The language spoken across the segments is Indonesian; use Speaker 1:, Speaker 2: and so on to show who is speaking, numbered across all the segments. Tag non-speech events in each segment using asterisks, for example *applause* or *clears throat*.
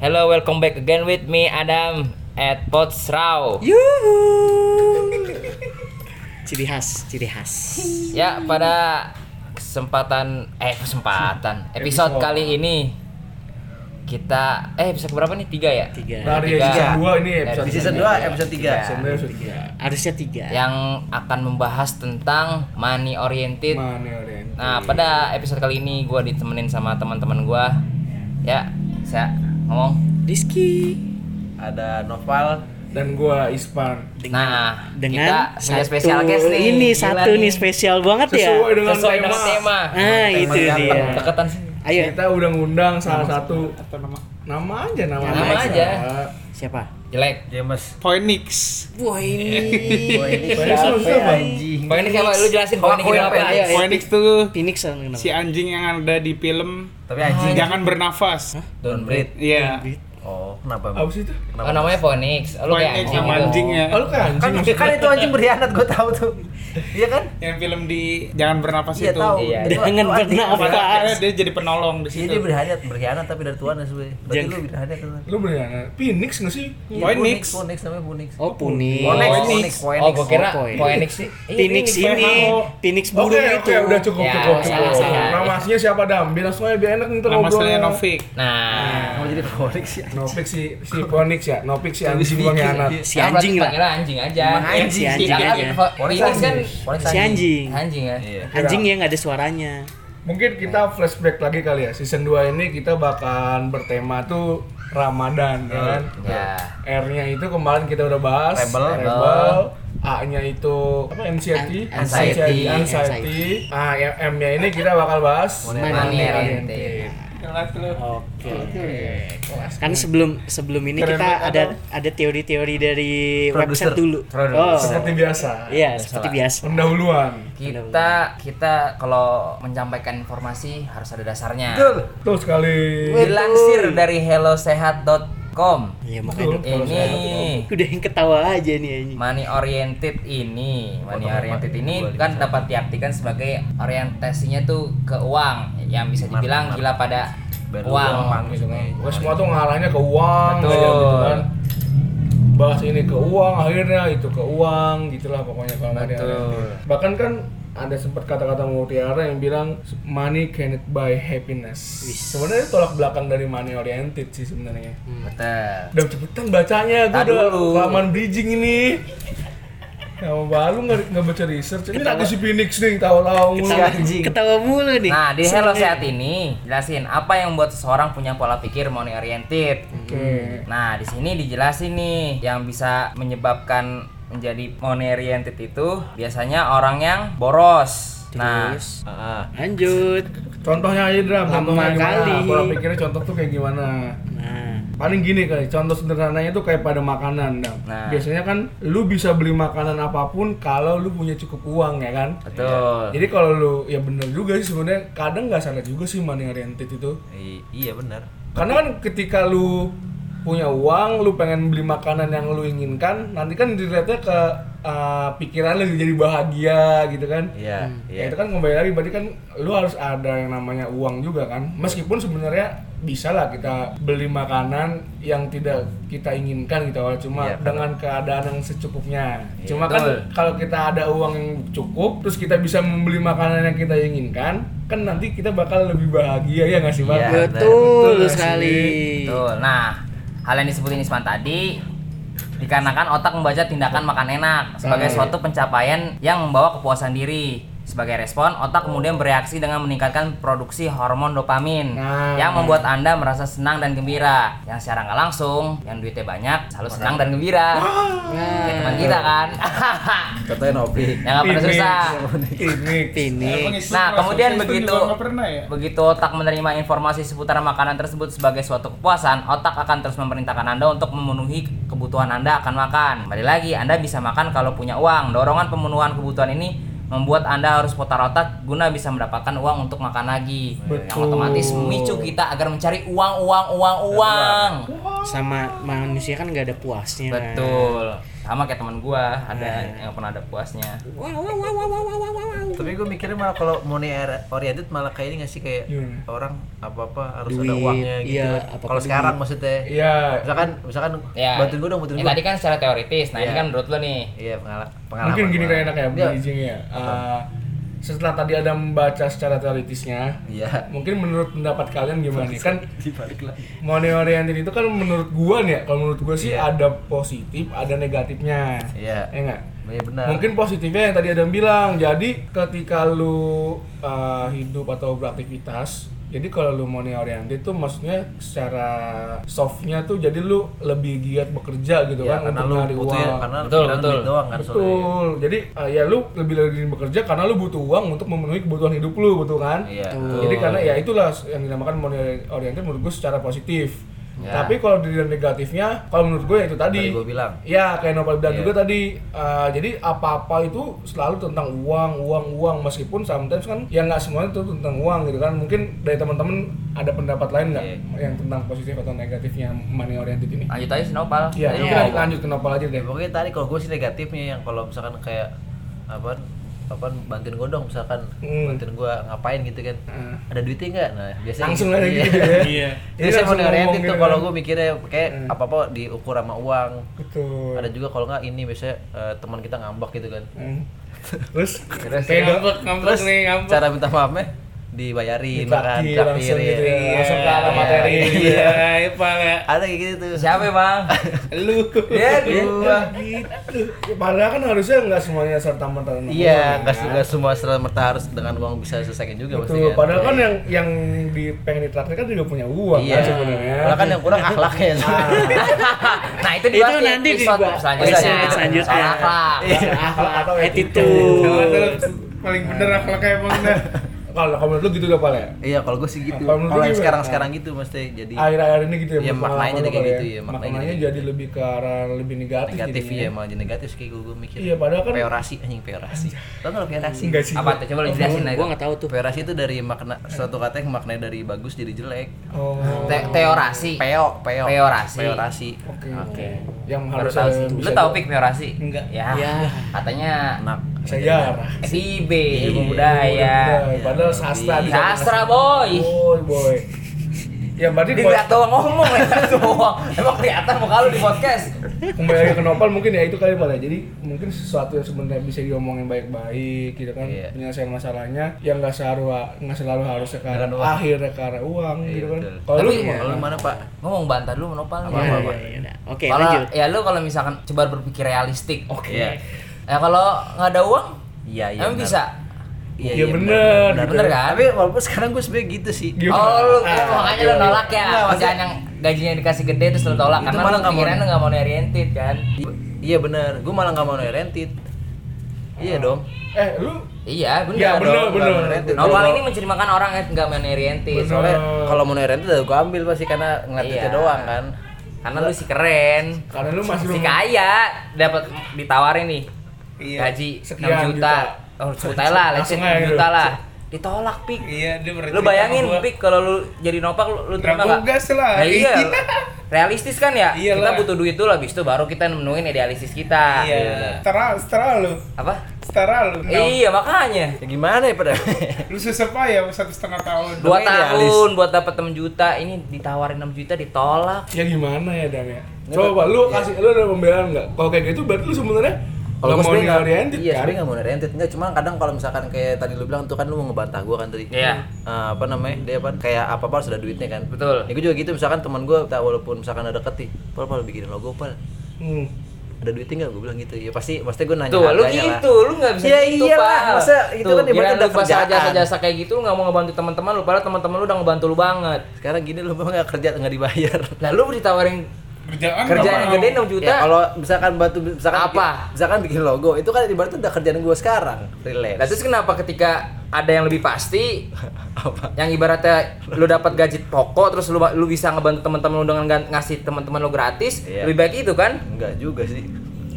Speaker 1: Hello, welcome back again with me Adam at Potsraw.
Speaker 2: Yuhu. ciri khas, ciri khas.
Speaker 1: Ya, pada kesempatan eh
Speaker 2: *laughs*
Speaker 1: kesempatan episode
Speaker 3: Episode.
Speaker 1: kali ini kita eh episode berapa nih? Tiga ya?
Speaker 2: Tiga.
Speaker 3: Dari
Speaker 1: Tiga. Iya.
Speaker 3: season 2 ini
Speaker 1: Dari
Speaker 3: episode
Speaker 4: Di season 2 episode 3
Speaker 3: Season 2 episode 3.
Speaker 2: Harusnya tiga.
Speaker 1: Yang akan membahas tentang money oriented.
Speaker 3: Mana ya, Ren?
Speaker 1: Nah, pada episode kali ini gua ditemenin sama teman-teman gua. Ya, saya ngomong.
Speaker 2: Rizky.
Speaker 4: Ada Noval
Speaker 3: Dan gua Ispan.
Speaker 1: Nah,
Speaker 2: Dengan
Speaker 1: kita punya
Speaker 2: satu
Speaker 1: special guest nih.
Speaker 2: ini
Speaker 1: Gila
Speaker 2: satu nih spesial banget ya.
Speaker 3: Sesuai dengan
Speaker 1: Sesuai
Speaker 3: tema.
Speaker 1: dengan tema.
Speaker 2: Nah
Speaker 4: Tema
Speaker 2: itu
Speaker 4: yang
Speaker 2: dia.
Speaker 4: datang.
Speaker 1: Deketan sih.
Speaker 2: Ayo
Speaker 3: Kita udah ngundang salah satu apa nama? Nama aja nama.
Speaker 1: Nama aja.
Speaker 3: aja.
Speaker 2: siapa?
Speaker 1: Jelek.
Speaker 4: James
Speaker 5: Phoenix.
Speaker 2: Wah ini.
Speaker 3: Wah,
Speaker 4: Wah ini
Speaker 3: ini
Speaker 4: siapa
Speaker 3: susah,
Speaker 4: ya,
Speaker 3: Bang.
Speaker 4: anjing
Speaker 1: Poin ini kenapa? Lu jelasin poin ini Iya,
Speaker 4: Aku yang
Speaker 1: kenapa?
Speaker 4: pengen.
Speaker 2: Eh,
Speaker 1: Ayo.
Speaker 5: Phoenix tuh
Speaker 2: *laughs* Phoenix yang kenapa?
Speaker 5: si anjing yang ada di film
Speaker 4: Tapi anjing
Speaker 5: Jangan Bernafas.
Speaker 1: Don't breathe.
Speaker 5: Iya.
Speaker 4: Oh kenapa Bang?
Speaker 3: Apa sih itu?
Speaker 1: Oh namanya Phoenix. Oh, Lu kayak
Speaker 5: Phoenix
Speaker 1: anjing
Speaker 5: yang
Speaker 1: gitu.
Speaker 5: anjingnya.
Speaker 3: Oh, lu kayak
Speaker 4: Kan,
Speaker 3: anjing maksudnya.
Speaker 4: kan itu anjing berkhianat gue tahu tuh Iya kan?
Speaker 5: Yang film di Jangan Bernafas
Speaker 4: Iya
Speaker 5: itu. Oh,
Speaker 4: tahu
Speaker 1: iya.
Speaker 4: Itu- itu
Speaker 2: Jangan
Speaker 4: anjing.
Speaker 2: bernafas.
Speaker 5: Padahal dia jadi penolong di
Speaker 4: Iya
Speaker 5: situ.
Speaker 4: dia berkhianat, berkhianat tapi dari Tuhan ya sebenernya Berarti
Speaker 2: Jangan-
Speaker 4: lu berkhianat kan?
Speaker 3: Lu beneran Phoenix nggak sih?
Speaker 4: Iya,
Speaker 5: Phoenix.
Speaker 4: Phoenix, Phoenix namanya Phoenix
Speaker 2: Oh Phoenix.
Speaker 4: Phoenix,
Speaker 5: Phoenix.
Speaker 4: Phoenix, Phoenix.
Speaker 1: Iya, Oh, gua kira
Speaker 2: Oh, Phoenix.
Speaker 1: Phoenix sih. Iya,
Speaker 2: Phoenix ini,
Speaker 3: WHO.
Speaker 2: Phoenix burung
Speaker 3: Oke,
Speaker 2: itu.
Speaker 3: oke, udah cukup,
Speaker 1: Ya,
Speaker 3: cukup,
Speaker 1: salah,
Speaker 3: cukup.
Speaker 1: salah.
Speaker 3: Nama aslinya siapa Dam? Biar langsung aja biar enak ntar
Speaker 5: Nama
Speaker 3: ngobrolnya.
Speaker 5: aslinya Novik.
Speaker 1: Nah,
Speaker 4: Mau jadi Phoenix ya?
Speaker 3: Novik si si Phoenix ya, Novik si anjing
Speaker 4: Habis
Speaker 3: pengkhianat.
Speaker 4: pikir,
Speaker 2: Si anjing lah.
Speaker 1: Panggil anjing aja.
Speaker 4: Emang anjing
Speaker 2: Si anjing
Speaker 1: Jangan
Speaker 2: ya.
Speaker 1: Pho- Phoenix kan
Speaker 4: Phoenix
Speaker 2: Si anjing.
Speaker 1: anjing ya.
Speaker 4: Iya
Speaker 2: Anjing yang nggak ada suaranya.
Speaker 3: Mungkin kita flashback lagi kali ya. Season 2 ini kita bakalan bertema tuh Ramadan ya kan.
Speaker 1: Ya.
Speaker 3: R-nya itu kemarin kita udah bahas
Speaker 4: Rebel.
Speaker 3: Rebel. A-nya itu apa anxiety,
Speaker 2: An- anxiety.
Speaker 3: anxiety, anxiety. Ah, yang M-nya ini kita bakal bahas
Speaker 4: Money
Speaker 1: oriented.
Speaker 2: Oke.
Speaker 3: Kelas.
Speaker 2: Kan sebelum sebelum ini
Speaker 3: Keren
Speaker 2: kita
Speaker 3: banget,
Speaker 2: ada
Speaker 3: Adam.
Speaker 2: ada teori-teori dari website
Speaker 4: Produser.
Speaker 2: dulu.
Speaker 4: Produser.
Speaker 2: Oh.
Speaker 3: Seperti biasa.
Speaker 2: Iya, seperti biasa.
Speaker 3: Pendahuluan.
Speaker 1: Kita kita kalau menyampaikan informasi harus ada dasarnya.
Speaker 4: Betul
Speaker 3: Betul sekali.
Speaker 1: Dilansir dari hellosehat.com.
Speaker 2: Iya,
Speaker 3: Betul,
Speaker 2: makanya
Speaker 3: gitu. kalau saya-
Speaker 1: Ini
Speaker 2: udah yang ketawa aja nih anjing.
Speaker 1: money oriented ini money
Speaker 4: Potongan
Speaker 1: oriented
Speaker 4: empat,
Speaker 1: ini
Speaker 4: dua, lima,
Speaker 1: kan
Speaker 4: satu.
Speaker 1: dapat diartikan sebagai orientasinya tuh ke uang yang bisa
Speaker 4: Smart,
Speaker 1: dibilang
Speaker 4: smart.
Speaker 1: gila pada
Speaker 4: Biar lu
Speaker 1: uang
Speaker 4: gampang gitu kan.
Speaker 3: Pokoknya semua tuh ngarahnya ke uang
Speaker 1: Betul.
Speaker 3: aja gitu kan. Bahas ini ke uang, akhirnya itu ke uang gitulah pokoknya kalau money
Speaker 1: Betul.
Speaker 3: oriented. Bahkan kan ada sempat kata-kata mutiara yang bilang money cannot buy happiness. Sebenarnya itu tolak belakang dari money oriented sih sebenarnya.
Speaker 1: betul
Speaker 3: Udah cepetan bacanya, gue
Speaker 1: Tar
Speaker 3: udah
Speaker 1: Nah. dulu.
Speaker 3: kelamaan bridging ini. Ya baru nggak nggak baca research. Ini lagi si Phoenix nih, tahu-tahu.
Speaker 2: Ketawa,
Speaker 4: anjing.
Speaker 2: ketawa mulu nih.
Speaker 1: nah di
Speaker 2: Seneng
Speaker 1: hello
Speaker 2: nih.
Speaker 1: sehat ini jelasin apa yang membuat seseorang punya pola pikir money oriented
Speaker 3: Oke.
Speaker 1: nah di sini dijelasin nih yang bisa menyebabkan menjadi money oriented itu biasanya orang yang boros nah
Speaker 2: Terus,
Speaker 4: Ah,
Speaker 2: lanjut.
Speaker 3: Contohnya aja
Speaker 2: Lama
Speaker 3: drum, contohnya gimana?
Speaker 2: kali.
Speaker 3: Pola pikirnya contoh tuh kayak gimana?
Speaker 2: Nah,
Speaker 3: paling gini kali contoh sederhananya tuh kayak pada makanan Dam.
Speaker 1: Nah.
Speaker 3: biasanya kan lu bisa beli makanan apapun kalau lu punya cukup uang ya kan
Speaker 1: betul
Speaker 3: jadi kalau lu ya bener juga sih sebenarnya kadang nggak salah juga sih money oriented itu
Speaker 4: i- Iya benar.
Speaker 3: karena kan ketika lu punya uang lu pengen beli makanan yang lu inginkan nanti kan dilihatnya ke uh, pikiran lu jadi bahagia gitu kan
Speaker 4: Iya, iya.
Speaker 3: Ya itu kan kembali lagi berarti kan lu harus ada yang namanya uang juga kan.
Speaker 4: Hmm.
Speaker 3: Meskipun sebenarnya bisa lah kita beli makanan yang tidak kita inginkan gitu awal cuma
Speaker 4: Iya, benar.
Speaker 3: dengan keadaan yang secukupnya.
Speaker 4: Iya,
Speaker 3: cuma kan
Speaker 1: betul.
Speaker 3: kalau kita ada uang yang cukup terus kita bisa membeli makanan yang kita inginkan, kan nanti kita bakal lebih bahagia ya nggak sih, Bang?
Speaker 4: Iya.
Speaker 2: betul,
Speaker 3: betul
Speaker 2: sekali.
Speaker 1: Betul. Nah, hal yang disebutin Isman tadi dikarenakan otak membaca tindakan makan enak sebagai
Speaker 3: Baik.
Speaker 1: suatu pencapaian yang membawa kepuasan diri. Sebagai respon, otak kemudian bereaksi dengan meningkatkan produksi hormon dopamin
Speaker 3: Nah.
Speaker 1: yang membuat Anda merasa senang dan gembira. Yang secara nggak langsung, yang duitnya banyak selalu senang dan gembira. Kayak teman kita kan. *laughs*
Speaker 4: Katanya Novi.
Speaker 1: yang nggak pernah
Speaker 3: Ini.
Speaker 1: susah.
Speaker 3: Ini
Speaker 2: Ini
Speaker 1: Nah, kemudian begitu
Speaker 5: pernah ya?
Speaker 1: begitu otak menerima informasi seputar makanan tersebut sebagai suatu kepuasan, otak akan terus memerintahkan Anda untuk memenuhi kebutuhan Anda akan makan. Kembali lagi, Anda bisa makan kalau punya uang. Dorongan pemenuhan kebutuhan ini membuat Anda harus putar otak guna bisa mendapatkan uang untuk makan lagi. Yang
Speaker 3: Betul.
Speaker 1: otomatis memicu kita agar mencari uang, uang, uang, uang.
Speaker 4: Iya.
Speaker 2: sama manusia kan nggak ada puasnya.
Speaker 1: Betul. sama kayak teman gua ada yang pernah ada puasnya
Speaker 4: Tapi gue mikirnya malah kalau money oriented malah kayaknya ngasih kayak
Speaker 3: Gimana?
Speaker 4: orang apa-apa harus ada
Speaker 2: Duit,
Speaker 4: uangnya gitu.
Speaker 2: iya,
Speaker 4: kan.
Speaker 2: apa-apa
Speaker 4: kalau
Speaker 2: duit.
Speaker 4: sekarang maksudnya.
Speaker 3: Iya,
Speaker 4: Misalkan misalkan
Speaker 1: ya
Speaker 4: bantuin gue dong, bantuin
Speaker 1: Ya,
Speaker 4: gue.
Speaker 1: tadi kan secara teoritis nah ini
Speaker 4: Iya.
Speaker 1: kan menurut lo nih
Speaker 4: Iya, pengala- pengalaman.
Speaker 3: mungkin gini
Speaker 4: gua.
Speaker 3: kayak enak ya
Speaker 4: Iya.
Speaker 3: bridging ya. Eh, setelah tadi ada membaca secara teoritisnya,
Speaker 4: Iya.
Speaker 3: mungkin menurut pendapat kalian gimana nih? Kan
Speaker 4: Dibalik lagi.
Speaker 3: money oriented itu kan menurut gua nih ya, kalau menurut gua sih ada positif, ada negatifnya.
Speaker 4: Iya.
Speaker 3: Ya enggak?
Speaker 4: Iya benar.
Speaker 3: Mungkin positifnya yang tadi Adam bilang, jadi ketika lu uh, hidup atau beraktivitas, jadi kalau lu money oriented tuh maksudnya secara softnya tuh jadi lu lebih giat bekerja gitu
Speaker 4: Iya,
Speaker 3: kan
Speaker 4: karena
Speaker 3: untuk
Speaker 4: lu
Speaker 3: nyari
Speaker 4: butuh
Speaker 3: uang.
Speaker 4: karena
Speaker 1: Betul,
Speaker 4: karena
Speaker 1: betul.
Speaker 4: duit doang kan soalnya.
Speaker 3: Betul. Jadi uh, ya lu lebih rajin bekerja karena lu butuh uang untuk memenuhi kebutuhan hidup lu, betul kan?
Speaker 4: Iya.
Speaker 2: Betul.
Speaker 3: Jadi karena ya itulah yang dinamakan money oriented menurut gue secara positif.
Speaker 4: Ya.
Speaker 3: Tapi kalau dari negatifnya, kalau menurut gue ya itu tadi.
Speaker 4: Tadi gua bilang.
Speaker 3: Ya kayak Nopal bilang
Speaker 4: Iya.
Speaker 3: juga tadi. eh, jadi apa-apa itu selalu tentang uang, uang, uang. Meskipun sometimes kan ya nggak semuanya itu tentang uang gitu kan. Mungkin dari teman-teman ada pendapat lain nggak
Speaker 4: Iya.
Speaker 3: yang tentang positif atau negatifnya money oriented ini?
Speaker 1: lanjut aja Sinopal
Speaker 3: Iya,
Speaker 1: Tadi
Speaker 3: mungkin
Speaker 1: lo
Speaker 3: lanjut- lanjut ke Nopal aja
Speaker 4: Ya,
Speaker 3: deh.
Speaker 4: pokoknya tadi kalau gue sih negatifnya yang kalau misalkan kayak apa apa bantuin gue dong misalkan
Speaker 3: Hmm.
Speaker 4: bantuin gue ngapain gitu kan
Speaker 3: Hmm.
Speaker 4: ada duitnya nggak nah biasanya
Speaker 3: Langsung aja
Speaker 4: iya.
Speaker 3: gitu ya.
Speaker 5: Iya.
Speaker 4: jadi
Speaker 3: Jadi
Speaker 4: saya mau
Speaker 3: langsung
Speaker 4: oriented
Speaker 3: ngomong
Speaker 4: tuh
Speaker 3: gitu
Speaker 4: kalau
Speaker 3: kan.
Speaker 4: gue mikirnya kayak
Speaker 3: Hmm.
Speaker 4: apa apa diukur sama uang
Speaker 3: Betul.
Speaker 4: ada juga kalau nggak ini biasanya eh, teman kita ngambek gitu kan
Speaker 3: Hmm. Terus
Speaker 4: Terus
Speaker 3: kayak do-
Speaker 5: ngambek ngambek
Speaker 4: terus
Speaker 5: nih ngambek
Speaker 4: cara minta maafnya dibayarin makan
Speaker 3: ditraktir langsung gitu ya.
Speaker 5: Iya.
Speaker 3: Langsung ke arah materi.
Speaker 5: iya iya pak ya.
Speaker 4: ada kayak gitu tuh Iya,
Speaker 1: siapa ya,
Speaker 4: *laughs*
Speaker 1: bang
Speaker 5: lu
Speaker 1: ya gua
Speaker 3: Iya, gitu. Padahal kan harusnya nggak semuanya serta merta tentang
Speaker 4: Iya,
Speaker 3: uang,
Speaker 4: nggak ya.
Speaker 3: ya.
Speaker 4: nggak semua serta merta harus dengan uang bisa selesaikan juga
Speaker 3: Betul.
Speaker 4: maksudnya.
Speaker 3: Padahal kan yang yang di pengen ditraktir kan juga punya uang kan
Speaker 4: iya.
Speaker 3: sebenarnya. Ah.
Speaker 4: Padahal
Speaker 3: *laughs*
Speaker 4: kan yang kurang akhlaknya.
Speaker 1: nah itu
Speaker 2: Itu
Speaker 1: dibahas di
Speaker 2: nanti
Speaker 1: episode
Speaker 2: dibahas.
Speaker 1: selanjutnya
Speaker 4: Episode
Speaker 2: selanjutnya.
Speaker 1: Soal akhlak.
Speaker 3: Iya. Akhlak atau
Speaker 5: Sama
Speaker 2: attitude.
Speaker 5: tuh, paling bener akhlaknya emang dah
Speaker 3: Kalau kalau menurut lu gitu udah ya?
Speaker 4: *laughs* Iya, kalau gue sih gitu.
Speaker 3: Kalau menurut
Speaker 4: Kalau yang
Speaker 3: gimana?
Speaker 4: sekarang-sekarang gitu mesti jadi
Speaker 3: Akhir-akhir ini gitu ya.
Speaker 4: Iya,
Speaker 3: menurut
Speaker 4: maknanya
Speaker 3: pengalaman lu,
Speaker 4: jadi kayak
Speaker 3: Pal,
Speaker 4: gitu, iya, maknanya
Speaker 3: Maknanya
Speaker 4: jadi
Speaker 3: jadi lebih ke arah lebih negatif. gitu
Speaker 4: negatif
Speaker 3: jadinya.
Speaker 4: ya, malah jadi negatif sih gue, gue mikir.
Speaker 3: Iya, padahal kan-
Speaker 4: peorasi anjing peorasi. Tau nggak lo peorasi?
Speaker 3: Enggak sih.
Speaker 1: apa tuh coba lu jelasin aja
Speaker 2: Gue nggak tahu
Speaker 4: Tuh
Speaker 2: tuh.
Speaker 4: peorasi itu dari makna suatu kata yang maknanya dari bagus jadi jelek.
Speaker 3: Oh.
Speaker 1: Te- teorasi
Speaker 4: Peo, peo.
Speaker 1: Peorasi.
Speaker 4: Peorasi.
Speaker 3: Oke. Oke. Yang
Speaker 1: baru
Speaker 3: harus
Speaker 1: tahu sih lu tahu pik teorasi
Speaker 3: Enggak.
Speaker 1: ya,
Speaker 2: Ya.
Speaker 1: katanya
Speaker 4: Anak.
Speaker 3: Saya Iya,
Speaker 1: SIB ilmu Iya. budaya
Speaker 3: Padahal sastra di sana.
Speaker 1: sastra boy
Speaker 3: Boy, boy. Ya berarti
Speaker 1: Dia
Speaker 3: buat-
Speaker 1: lihat doang ngomong ya, *laughs* doang. Emang kelihatan muka lu di podcast.
Speaker 3: kembali lagi ke Nopal mungkin ya itu kali Pak, ya. Jadi mungkin sesuatu yang sebenarnya bisa diomongin baik-baik gitu kan
Speaker 4: Iya.
Speaker 3: penyelesaian masalahnya yang nggak selalu nggak selalu harus ke arah
Speaker 4: Dengan uang.
Speaker 3: akhirnya ke arah uang gitu kan.
Speaker 4: betul.
Speaker 3: Kalau
Speaker 1: Iya,
Speaker 3: lu
Speaker 1: Tapi-
Speaker 3: gimana?
Speaker 4: Kalau lu mana pak?
Speaker 1: Ngomong bantah dulu menopal.
Speaker 2: Ya,
Speaker 4: Apa,
Speaker 1: Kalau
Speaker 4: apa, apa?
Speaker 2: ya, ya, udah. Oke, lanjut.
Speaker 1: ya lu kalau misalkan coba berpikir realistik.
Speaker 3: Oke.
Speaker 4: Iya.
Speaker 1: Ya kalau nggak ada uang,
Speaker 4: Iya, iya.
Speaker 1: emang
Speaker 4: benar.
Speaker 1: bisa.
Speaker 3: Iya,
Speaker 4: Iya, iya,
Speaker 3: bener,
Speaker 4: benar,
Speaker 1: bener
Speaker 4: benar.
Speaker 1: kan?
Speaker 4: Tapi walaupun sekarang gue sebenarnya gitu sih.
Speaker 3: Gimana?
Speaker 1: Oh lu
Speaker 3: Ah,
Speaker 1: ya, makanya lu
Speaker 3: iya,
Speaker 1: nolak ya
Speaker 4: Nggak,
Speaker 1: kerjaan
Speaker 4: maksudnya-
Speaker 1: yang gajinya dikasih gede terus lu tolak
Speaker 4: Itu
Speaker 1: karena lu
Speaker 4: malah nggak mau-
Speaker 1: pikirannya nggak mau oriented kan.
Speaker 4: Iya benar, gue malah nggak mau oriented. Iya dong.
Speaker 3: Eh lu
Speaker 1: Iya bener.
Speaker 3: Ya, bener,
Speaker 4: dong,
Speaker 3: bener.
Speaker 4: nggak oriented.
Speaker 1: Nopal
Speaker 4: Kalau-
Speaker 1: ini mencerminkan orang yang nggak mau oriented.
Speaker 3: Bener.
Speaker 4: Soalnya kalau mau oriented udah gue ambil pasti karena ngeliatnya
Speaker 1: Iya.
Speaker 4: doang kan.
Speaker 1: Karena lu si keren.
Speaker 3: karena lu masih
Speaker 1: si
Speaker 3: belum
Speaker 1: kaya dapat ditawarin nih
Speaker 5: Iya.
Speaker 1: gaji 6
Speaker 3: Sekian
Speaker 1: juta, oh juta lah let's say
Speaker 3: Langsung aja
Speaker 1: 6
Speaker 3: gitu.
Speaker 1: juta lah ditolak pik
Speaker 5: iya dia pernah
Speaker 1: lu
Speaker 5: cerita
Speaker 1: bayangin
Speaker 5: sama gua.
Speaker 1: pik kalau lu jadi nopak lu, lu terima
Speaker 5: Terima gas lah.
Speaker 1: Nah, iya realistis kan ya
Speaker 5: Iyalah.
Speaker 1: kita butuh duit dulu habis itu baru kita nemuin idealistis kita
Speaker 5: iya setara setara lu
Speaker 1: apa
Speaker 5: setara lu Nah,
Speaker 1: iya makanya
Speaker 4: Ya gimana ya pada? *laughs*
Speaker 5: lu susah payah satu setengah tahun
Speaker 1: dua
Speaker 4: Namanya idealis.
Speaker 1: tahun buat dapat 6 juta ini ditawarin 6 juta ditolak
Speaker 3: ya gimana ya Dan ya. Coba lu
Speaker 1: Iya.
Speaker 3: kasih lu ada pembelaan nggak? Kalau kayak gitu berarti lu sebenarnya
Speaker 4: Kalau
Speaker 3: nggak
Speaker 4: gue
Speaker 3: mau
Speaker 4: sebenarnya nggak-
Speaker 3: oriented
Speaker 4: iya,
Speaker 3: kan?
Speaker 4: sebenarnya nggak mau oriented. Enggak, cuma kadang kalau misalkan kayak tadi lu bilang tuh kan lu mau ngebantah gue kan tadi.
Speaker 1: Iya.
Speaker 4: Eh, apa namanya? Dia apa? Kayak apa apa harus ada duitnya kan.
Speaker 1: Betul.
Speaker 4: Ya gue juga gitu misalkan teman gue tak walaupun misalkan ada deket nih, pal pal bikinin logo pal.
Speaker 3: Hmm.
Speaker 4: Ada duitnya nggak? Gue bilang gitu. Ya pasti, pasti gue nanya
Speaker 1: Tuh, lu
Speaker 4: harganya lah.
Speaker 1: gitu, lu nggak bisa
Speaker 4: Ya
Speaker 1: gitu,
Speaker 4: iyalah,
Speaker 1: Pal.
Speaker 4: masa itu kan ibaratnya
Speaker 1: giliran
Speaker 4: udah
Speaker 1: lu pas
Speaker 4: kerjaan.
Speaker 1: jasa-jasa kayak gitu lu nggak mau ngebantu teman-teman lu, padahal teman-teman lu udah ngebantu lu banget.
Speaker 4: Sekarang gini lu mau nggak kerja nggak dibayar?
Speaker 1: Lah lu ditawarin
Speaker 5: kerjaan
Speaker 1: kerjaan
Speaker 5: nggak
Speaker 1: yang
Speaker 5: mau.
Speaker 1: gede 6 juta.
Speaker 4: Ya, kalau misalkan batu
Speaker 1: Apa?
Speaker 4: misalkan Bikin, misalkan bikin logo, itu kan ibaratnya udah kerjaan gue sekarang. Relax.
Speaker 1: Lah terus kenapa ketika ada yang lebih pasti
Speaker 4: apa?
Speaker 1: yang ibaratnya lu dapat gaji pokok terus lu lu bisa ngebantu teman-teman lu dengan gan- ngasih teman-teman lu gratis,
Speaker 4: Iya.
Speaker 1: lebih baik itu kan?
Speaker 4: Enggak juga sih.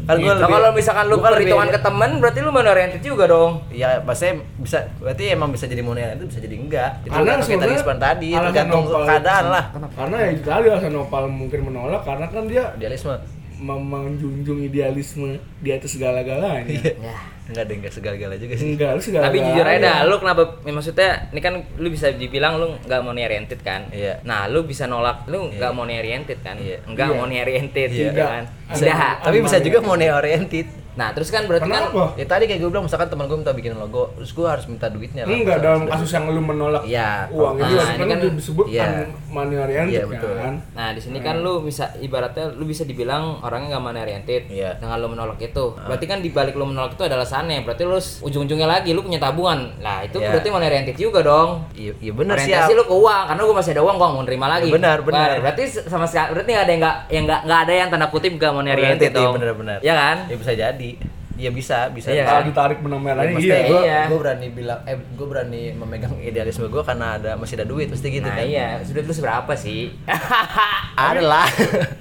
Speaker 4: Kan
Speaker 1: Nah,
Speaker 4: gua lebih-
Speaker 1: kalau misalkan lu
Speaker 4: gua kan
Speaker 1: perhitungan ke
Speaker 4: lebih-
Speaker 1: temen berarti lu oriented juga dong.
Speaker 4: Ya, maksudnya bisa berarti emang bisa jadi moneter itu bisa jadi enggak. Itu
Speaker 3: Karena
Speaker 4: tergantung kita
Speaker 3: sebenarnya
Speaker 4: respon tadi,
Speaker 3: alasan
Speaker 4: tergantung
Speaker 3: nongkrong-
Speaker 4: keadaan lah.
Speaker 3: Karena ya itu tadi alasan Nopal mungkin menolak karena kan dia
Speaker 4: Idealisme.
Speaker 3: mem- menjunjung idealisme di atas segala-galanya.
Speaker 1: Ya.
Speaker 4: Enggak deh, enggak segala-gala juga sih.
Speaker 3: Enggak, lu segala
Speaker 1: Tapi jujur aja dah, lu kenapa ya, maksudnya ini kan lu bisa dibilang lu nggak money oriented kan?
Speaker 4: Iya.
Speaker 1: Nah, lu bisa nolak lu nggak money oriented kan?
Speaker 4: Iya.
Speaker 1: Enggak
Speaker 3: Iya.
Speaker 1: money oriented
Speaker 4: Iya.
Speaker 1: gitu kan.
Speaker 3: Bisa.
Speaker 1: Udah.
Speaker 4: Tapi bisa juga money oriented.
Speaker 1: Nah, terus kan berarti kan
Speaker 3: Kenapa?
Speaker 4: Ya tadi kayak gue bilang misalkan teman gue minta bikin logo, terus gue harus minta duitnya. lah.
Speaker 3: Enggak
Speaker 4: Misal-
Speaker 3: dalam
Speaker 4: misal-
Speaker 3: kasus yang lu menolak
Speaker 4: Iya,
Speaker 3: uang
Speaker 1: kalau-
Speaker 3: itu
Speaker 1: nah,
Speaker 3: kan,
Speaker 1: ini kan-
Speaker 3: itu disebut
Speaker 4: iya.
Speaker 3: kan money oriented
Speaker 4: Iya, betul.
Speaker 3: kan.
Speaker 1: Nah, di
Speaker 4: Hmm.
Speaker 1: sini kan lu bisa ibaratnya lu bisa dibilang orangnya nggak money oriented
Speaker 4: Iya. Ah.
Speaker 1: dengan lu menolak itu. Berarti kan di balik lu menolak itu ada alasannya. Berarti lu s- ujung-ujungnya lagi lu punya tabungan. Nah, itu
Speaker 4: Iya.
Speaker 1: berarti money oriented juga dong.
Speaker 4: Iya, iya benar sih.
Speaker 1: orientasi lu ke uang karena gue masih ada uang gue mau nerima lagi
Speaker 4: Ya, benar, benar.
Speaker 1: Nah, berarti sama sekali berarti nggak ada yang nggak yang nggak nggak ada yang tanda kutip gak money oriented
Speaker 4: Iya,
Speaker 1: dong
Speaker 4: benar-benar.
Speaker 1: ya kan
Speaker 4: Ya bisa jadi. Iya bisa, bisa.
Speaker 1: Iya.
Speaker 4: bisa.
Speaker 3: Kalau ditarik benang lagi iya.
Speaker 4: Maksudnya
Speaker 1: iya.
Speaker 4: gua, gua berani bilang eh gua berani memegang idealisme gua karena ada masih ada duit pasti gitu
Speaker 1: nah
Speaker 4: kan.
Speaker 1: iya sudah terus berapa sih
Speaker 4: *laughs* Ada lah.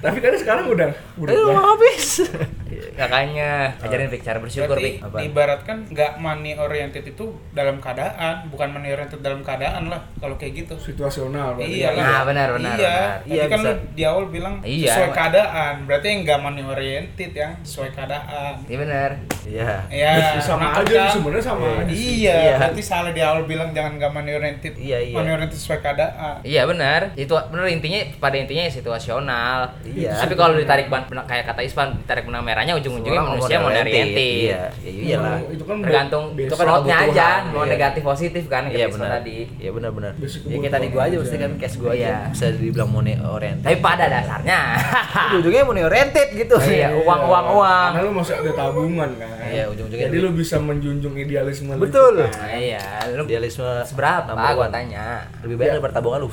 Speaker 3: Tapi kan sekarang udah udah
Speaker 4: Aduh, *laughs* habis.
Speaker 1: kakaknya ajarin Vic cara bersyukur Vic
Speaker 5: Berarti
Speaker 4: Apa?
Speaker 5: diibaratkan nggak money oriented itu dalam keadaan, bukan money oriented dalam keadaan lah kalau kayak gitu.
Speaker 3: situasional berarti
Speaker 5: Iya
Speaker 3: kan.
Speaker 5: lah.
Speaker 1: Nah, benar, benar,
Speaker 5: Iya.
Speaker 1: benar.
Speaker 5: Tadi
Speaker 4: Iya,
Speaker 5: kan
Speaker 4: bisa.
Speaker 5: lu di awal bilang
Speaker 1: Iya.
Speaker 5: sesuai keadaan. Berarti yang nggak money oriented yang sesuai keadaan.
Speaker 1: iya bener
Speaker 4: Iya.
Speaker 5: Ya,
Speaker 3: sama
Speaker 5: makanya-
Speaker 3: aja sebenarnya sama aja. sih.
Speaker 5: Iya,
Speaker 4: Iya.
Speaker 5: berarti salah di awal bilang jangan nggak money oriented.
Speaker 4: Iya, iya.
Speaker 5: Money oriented sesuai keadaan.
Speaker 1: iya bener itu bener intinya pada intinya ya situasional
Speaker 4: Iya.
Speaker 1: tapi kalau ditarik ban- benang kayak kata Ispan ditarik benang merahnya ujung-ujungnya
Speaker 4: Orang
Speaker 1: manusia
Speaker 4: mau
Speaker 1: money
Speaker 4: oriented.
Speaker 1: oriented
Speaker 4: Iya, ya iyalah.
Speaker 3: Itu kan be-
Speaker 1: tergantung
Speaker 3: basic
Speaker 1: slotnya aja
Speaker 3: kebutuhan.
Speaker 1: mau
Speaker 4: iya.
Speaker 1: negatif positif kan kayak
Speaker 4: Iya
Speaker 1: Ispan
Speaker 4: benar.
Speaker 1: tadi
Speaker 4: Iya benar-benar.
Speaker 3: Basic
Speaker 4: Ya kayak tadi gua aja
Speaker 3: kebutuhan
Speaker 4: pasti
Speaker 3: aja.
Speaker 4: kan cash gua
Speaker 1: Iya.
Speaker 4: aja bisa dibilang money oriented.
Speaker 1: tapi pada dasarnya
Speaker 4: ujungnya money oriented gitu.
Speaker 1: Ah. iya uang uang uang
Speaker 3: Karena lu masih ada tabungan kan.
Speaker 4: Iya, ujung-ujungnya
Speaker 3: Jadi lu bisa menjunjung idealisme lu
Speaker 4: Betul.
Speaker 3: itu kan.
Speaker 1: Nah, iya, lu
Speaker 4: Idealisme
Speaker 1: seberapa
Speaker 4: number
Speaker 1: gua
Speaker 4: one.
Speaker 1: tanya. Ya.
Speaker 4: Lebih baik daripada tabungan lu.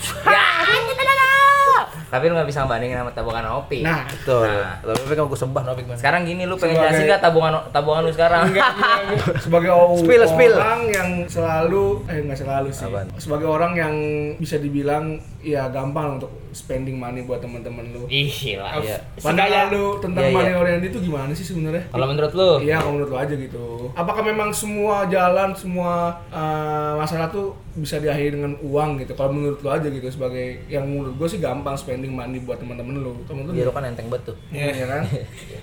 Speaker 1: Tapi lu nggak bisa bandingin sama tabungan Opi.
Speaker 3: Nah,
Speaker 4: Betul. Tapi kan gua sembah Novik Mas.
Speaker 1: sekarang gini lu pengen
Speaker 3: Sebagai-
Speaker 1: jelasin nggak tabungan tabungan lu sekarang?
Speaker 5: Enggak, enggak, enggak.
Speaker 3: sebagai o-
Speaker 4: Spill,
Speaker 3: orang
Speaker 4: spill.
Speaker 3: yang selalu eh nggak selalu sih
Speaker 4: Apaan?
Speaker 3: sebagai orang yang bisa dibilang ya gampang untuk spending money buat teman-teman lu
Speaker 1: *laughs* Ih, gila.
Speaker 5: Iya.
Speaker 3: pandangan lu tentang
Speaker 4: Iya, iya.
Speaker 3: money oriented itu gimana sih sebenarnya
Speaker 1: Kalau menurut lu?
Speaker 3: Iya, kalau menurut lo aja gitu. Apakah memang semua jalan, semua eh, masalah tuh bisa diakhiri dengan uang gitu? Kalau menurut lo aja gitu sebagai yang menurut gue sih gampang spending money buat teman-teman lo. Kalau menurut
Speaker 4: Iya
Speaker 3: lo
Speaker 4: lu kan enteng banget tuh.
Speaker 5: Iya.
Speaker 3: ya kan?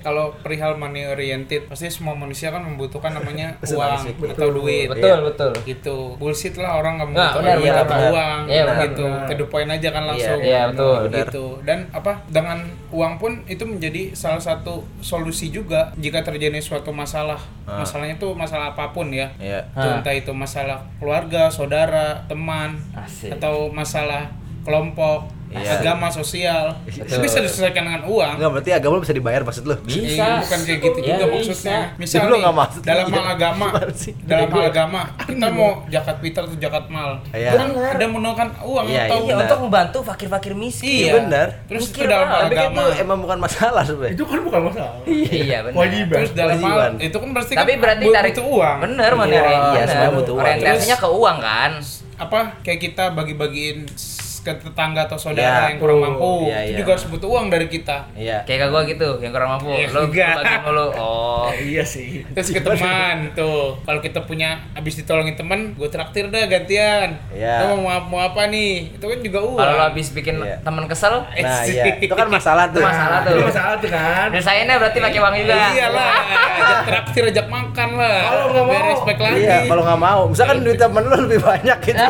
Speaker 5: Kalau perihal money oriented, pasti semua manusia kan membutuhkan namanya
Speaker 4: Pasti
Speaker 5: uang
Speaker 4: manusia.
Speaker 5: atau duit.
Speaker 1: Betul, betul.
Speaker 5: gitu bullshit lah orang nggak
Speaker 1: Nggak,
Speaker 5: membutuhkan
Speaker 1: benar,
Speaker 5: duit
Speaker 1: benar,
Speaker 5: atau
Speaker 1: benar.
Speaker 5: uang
Speaker 1: Iya, benar,
Speaker 5: gitu
Speaker 3: benar.
Speaker 5: to the point aja kan langsung
Speaker 1: iya, betul, benar.
Speaker 5: gitu dan apa dengan uang pun itu menjadi salah satu solusi juga jika terjadi suatu masalah
Speaker 4: Ah.
Speaker 5: masalahnya tuh masalah apapun ya
Speaker 4: Iya.
Speaker 1: Ah.
Speaker 5: Itu entah itu masalah keluarga saudara teman
Speaker 1: Asik.
Speaker 5: atau masalah kelompok
Speaker 4: Iya.
Speaker 5: agama sosial
Speaker 1: Betul.
Speaker 5: bisa diselesaikan dengan uang
Speaker 4: Enggak berarti agama lu bisa dibayar maksud lu.
Speaker 1: Bisa.
Speaker 5: Iya, bukan kayak gitu
Speaker 1: Iya,
Speaker 5: juga
Speaker 1: bisa.
Speaker 5: maksudnya. Misal
Speaker 4: Jadi lu
Speaker 5: nih,
Speaker 4: nggak maksud
Speaker 5: dalam
Speaker 4: iya.
Speaker 5: hal agama,
Speaker 4: Gimana sih?
Speaker 5: dalam hal agama, kita
Speaker 1: Hmm.
Speaker 5: mau zakat fitrah atau zakat mal.
Speaker 4: Iya.
Speaker 5: Kan ada menurunkan uang
Speaker 4: Iya,
Speaker 5: atau
Speaker 1: Iya,
Speaker 4: Benar.
Speaker 1: untuk membantu fakir-fakir miskin.
Speaker 5: Iya.
Speaker 4: benar.
Speaker 5: Terus itu
Speaker 1: Mikir
Speaker 5: dalam
Speaker 1: banget.
Speaker 5: hal
Speaker 4: Tapi kan
Speaker 5: agama.
Speaker 4: itu emang bukan masalah ya? sebenarnya.
Speaker 3: Itu kan bukan masalah.
Speaker 1: Iya, benar.
Speaker 3: Kewajiban.
Speaker 5: Terus dalam hal
Speaker 4: Kewajiban.
Speaker 5: itu kan pasti
Speaker 1: Tapi
Speaker 5: kan
Speaker 1: berarti
Speaker 5: bu-
Speaker 1: tarik
Speaker 5: butuh uang.
Speaker 1: Bener,
Speaker 4: Iya,
Speaker 1: bener.
Speaker 4: iya,
Speaker 1: bener.
Speaker 4: semua butuh uang.
Speaker 1: Orientasinya ke uang kan?
Speaker 5: Apa kayak kita bagi-bagiin s- ke tetangga atau saudara
Speaker 4: Iya.
Speaker 5: yang kurang
Speaker 3: Tuh.
Speaker 5: mampu,
Speaker 4: Iya,
Speaker 5: itu
Speaker 4: iya.
Speaker 5: juga harus butuh uang dari kita.
Speaker 4: Iya.
Speaker 1: Kayak kagak gitu, yang kurang mampu.
Speaker 5: Iya,
Speaker 1: Lo
Speaker 5: enggak.
Speaker 1: bagiin mulu. Oh.
Speaker 3: Iya sih.
Speaker 5: Terus ke teman tuh, kalau kita punya habis ditolongin teman, gue traktir dah gantian.
Speaker 4: Iya.
Speaker 5: Lu mau, mau apa nih? Itu kan juga uang.
Speaker 1: Kalau lo habis bikin
Speaker 4: Iya.
Speaker 1: temen kesel,
Speaker 4: Nah, iya. Itu kan masalah tuh.
Speaker 1: Itu masalah
Speaker 3: Itu
Speaker 1: tuh.
Speaker 3: Nah, masalah tuh kan.
Speaker 1: desainnya berarti pakai uang juga.
Speaker 5: *laughs* Iyalah, ajak traktir, ajak makan lah.
Speaker 3: Kalau nggak mau.
Speaker 5: Biar Oh, respect lagi.
Speaker 4: Iya, kalau nggak mau. Misalkan duit temen lu lebih banyak
Speaker 1: *laughs*
Speaker 4: gitu.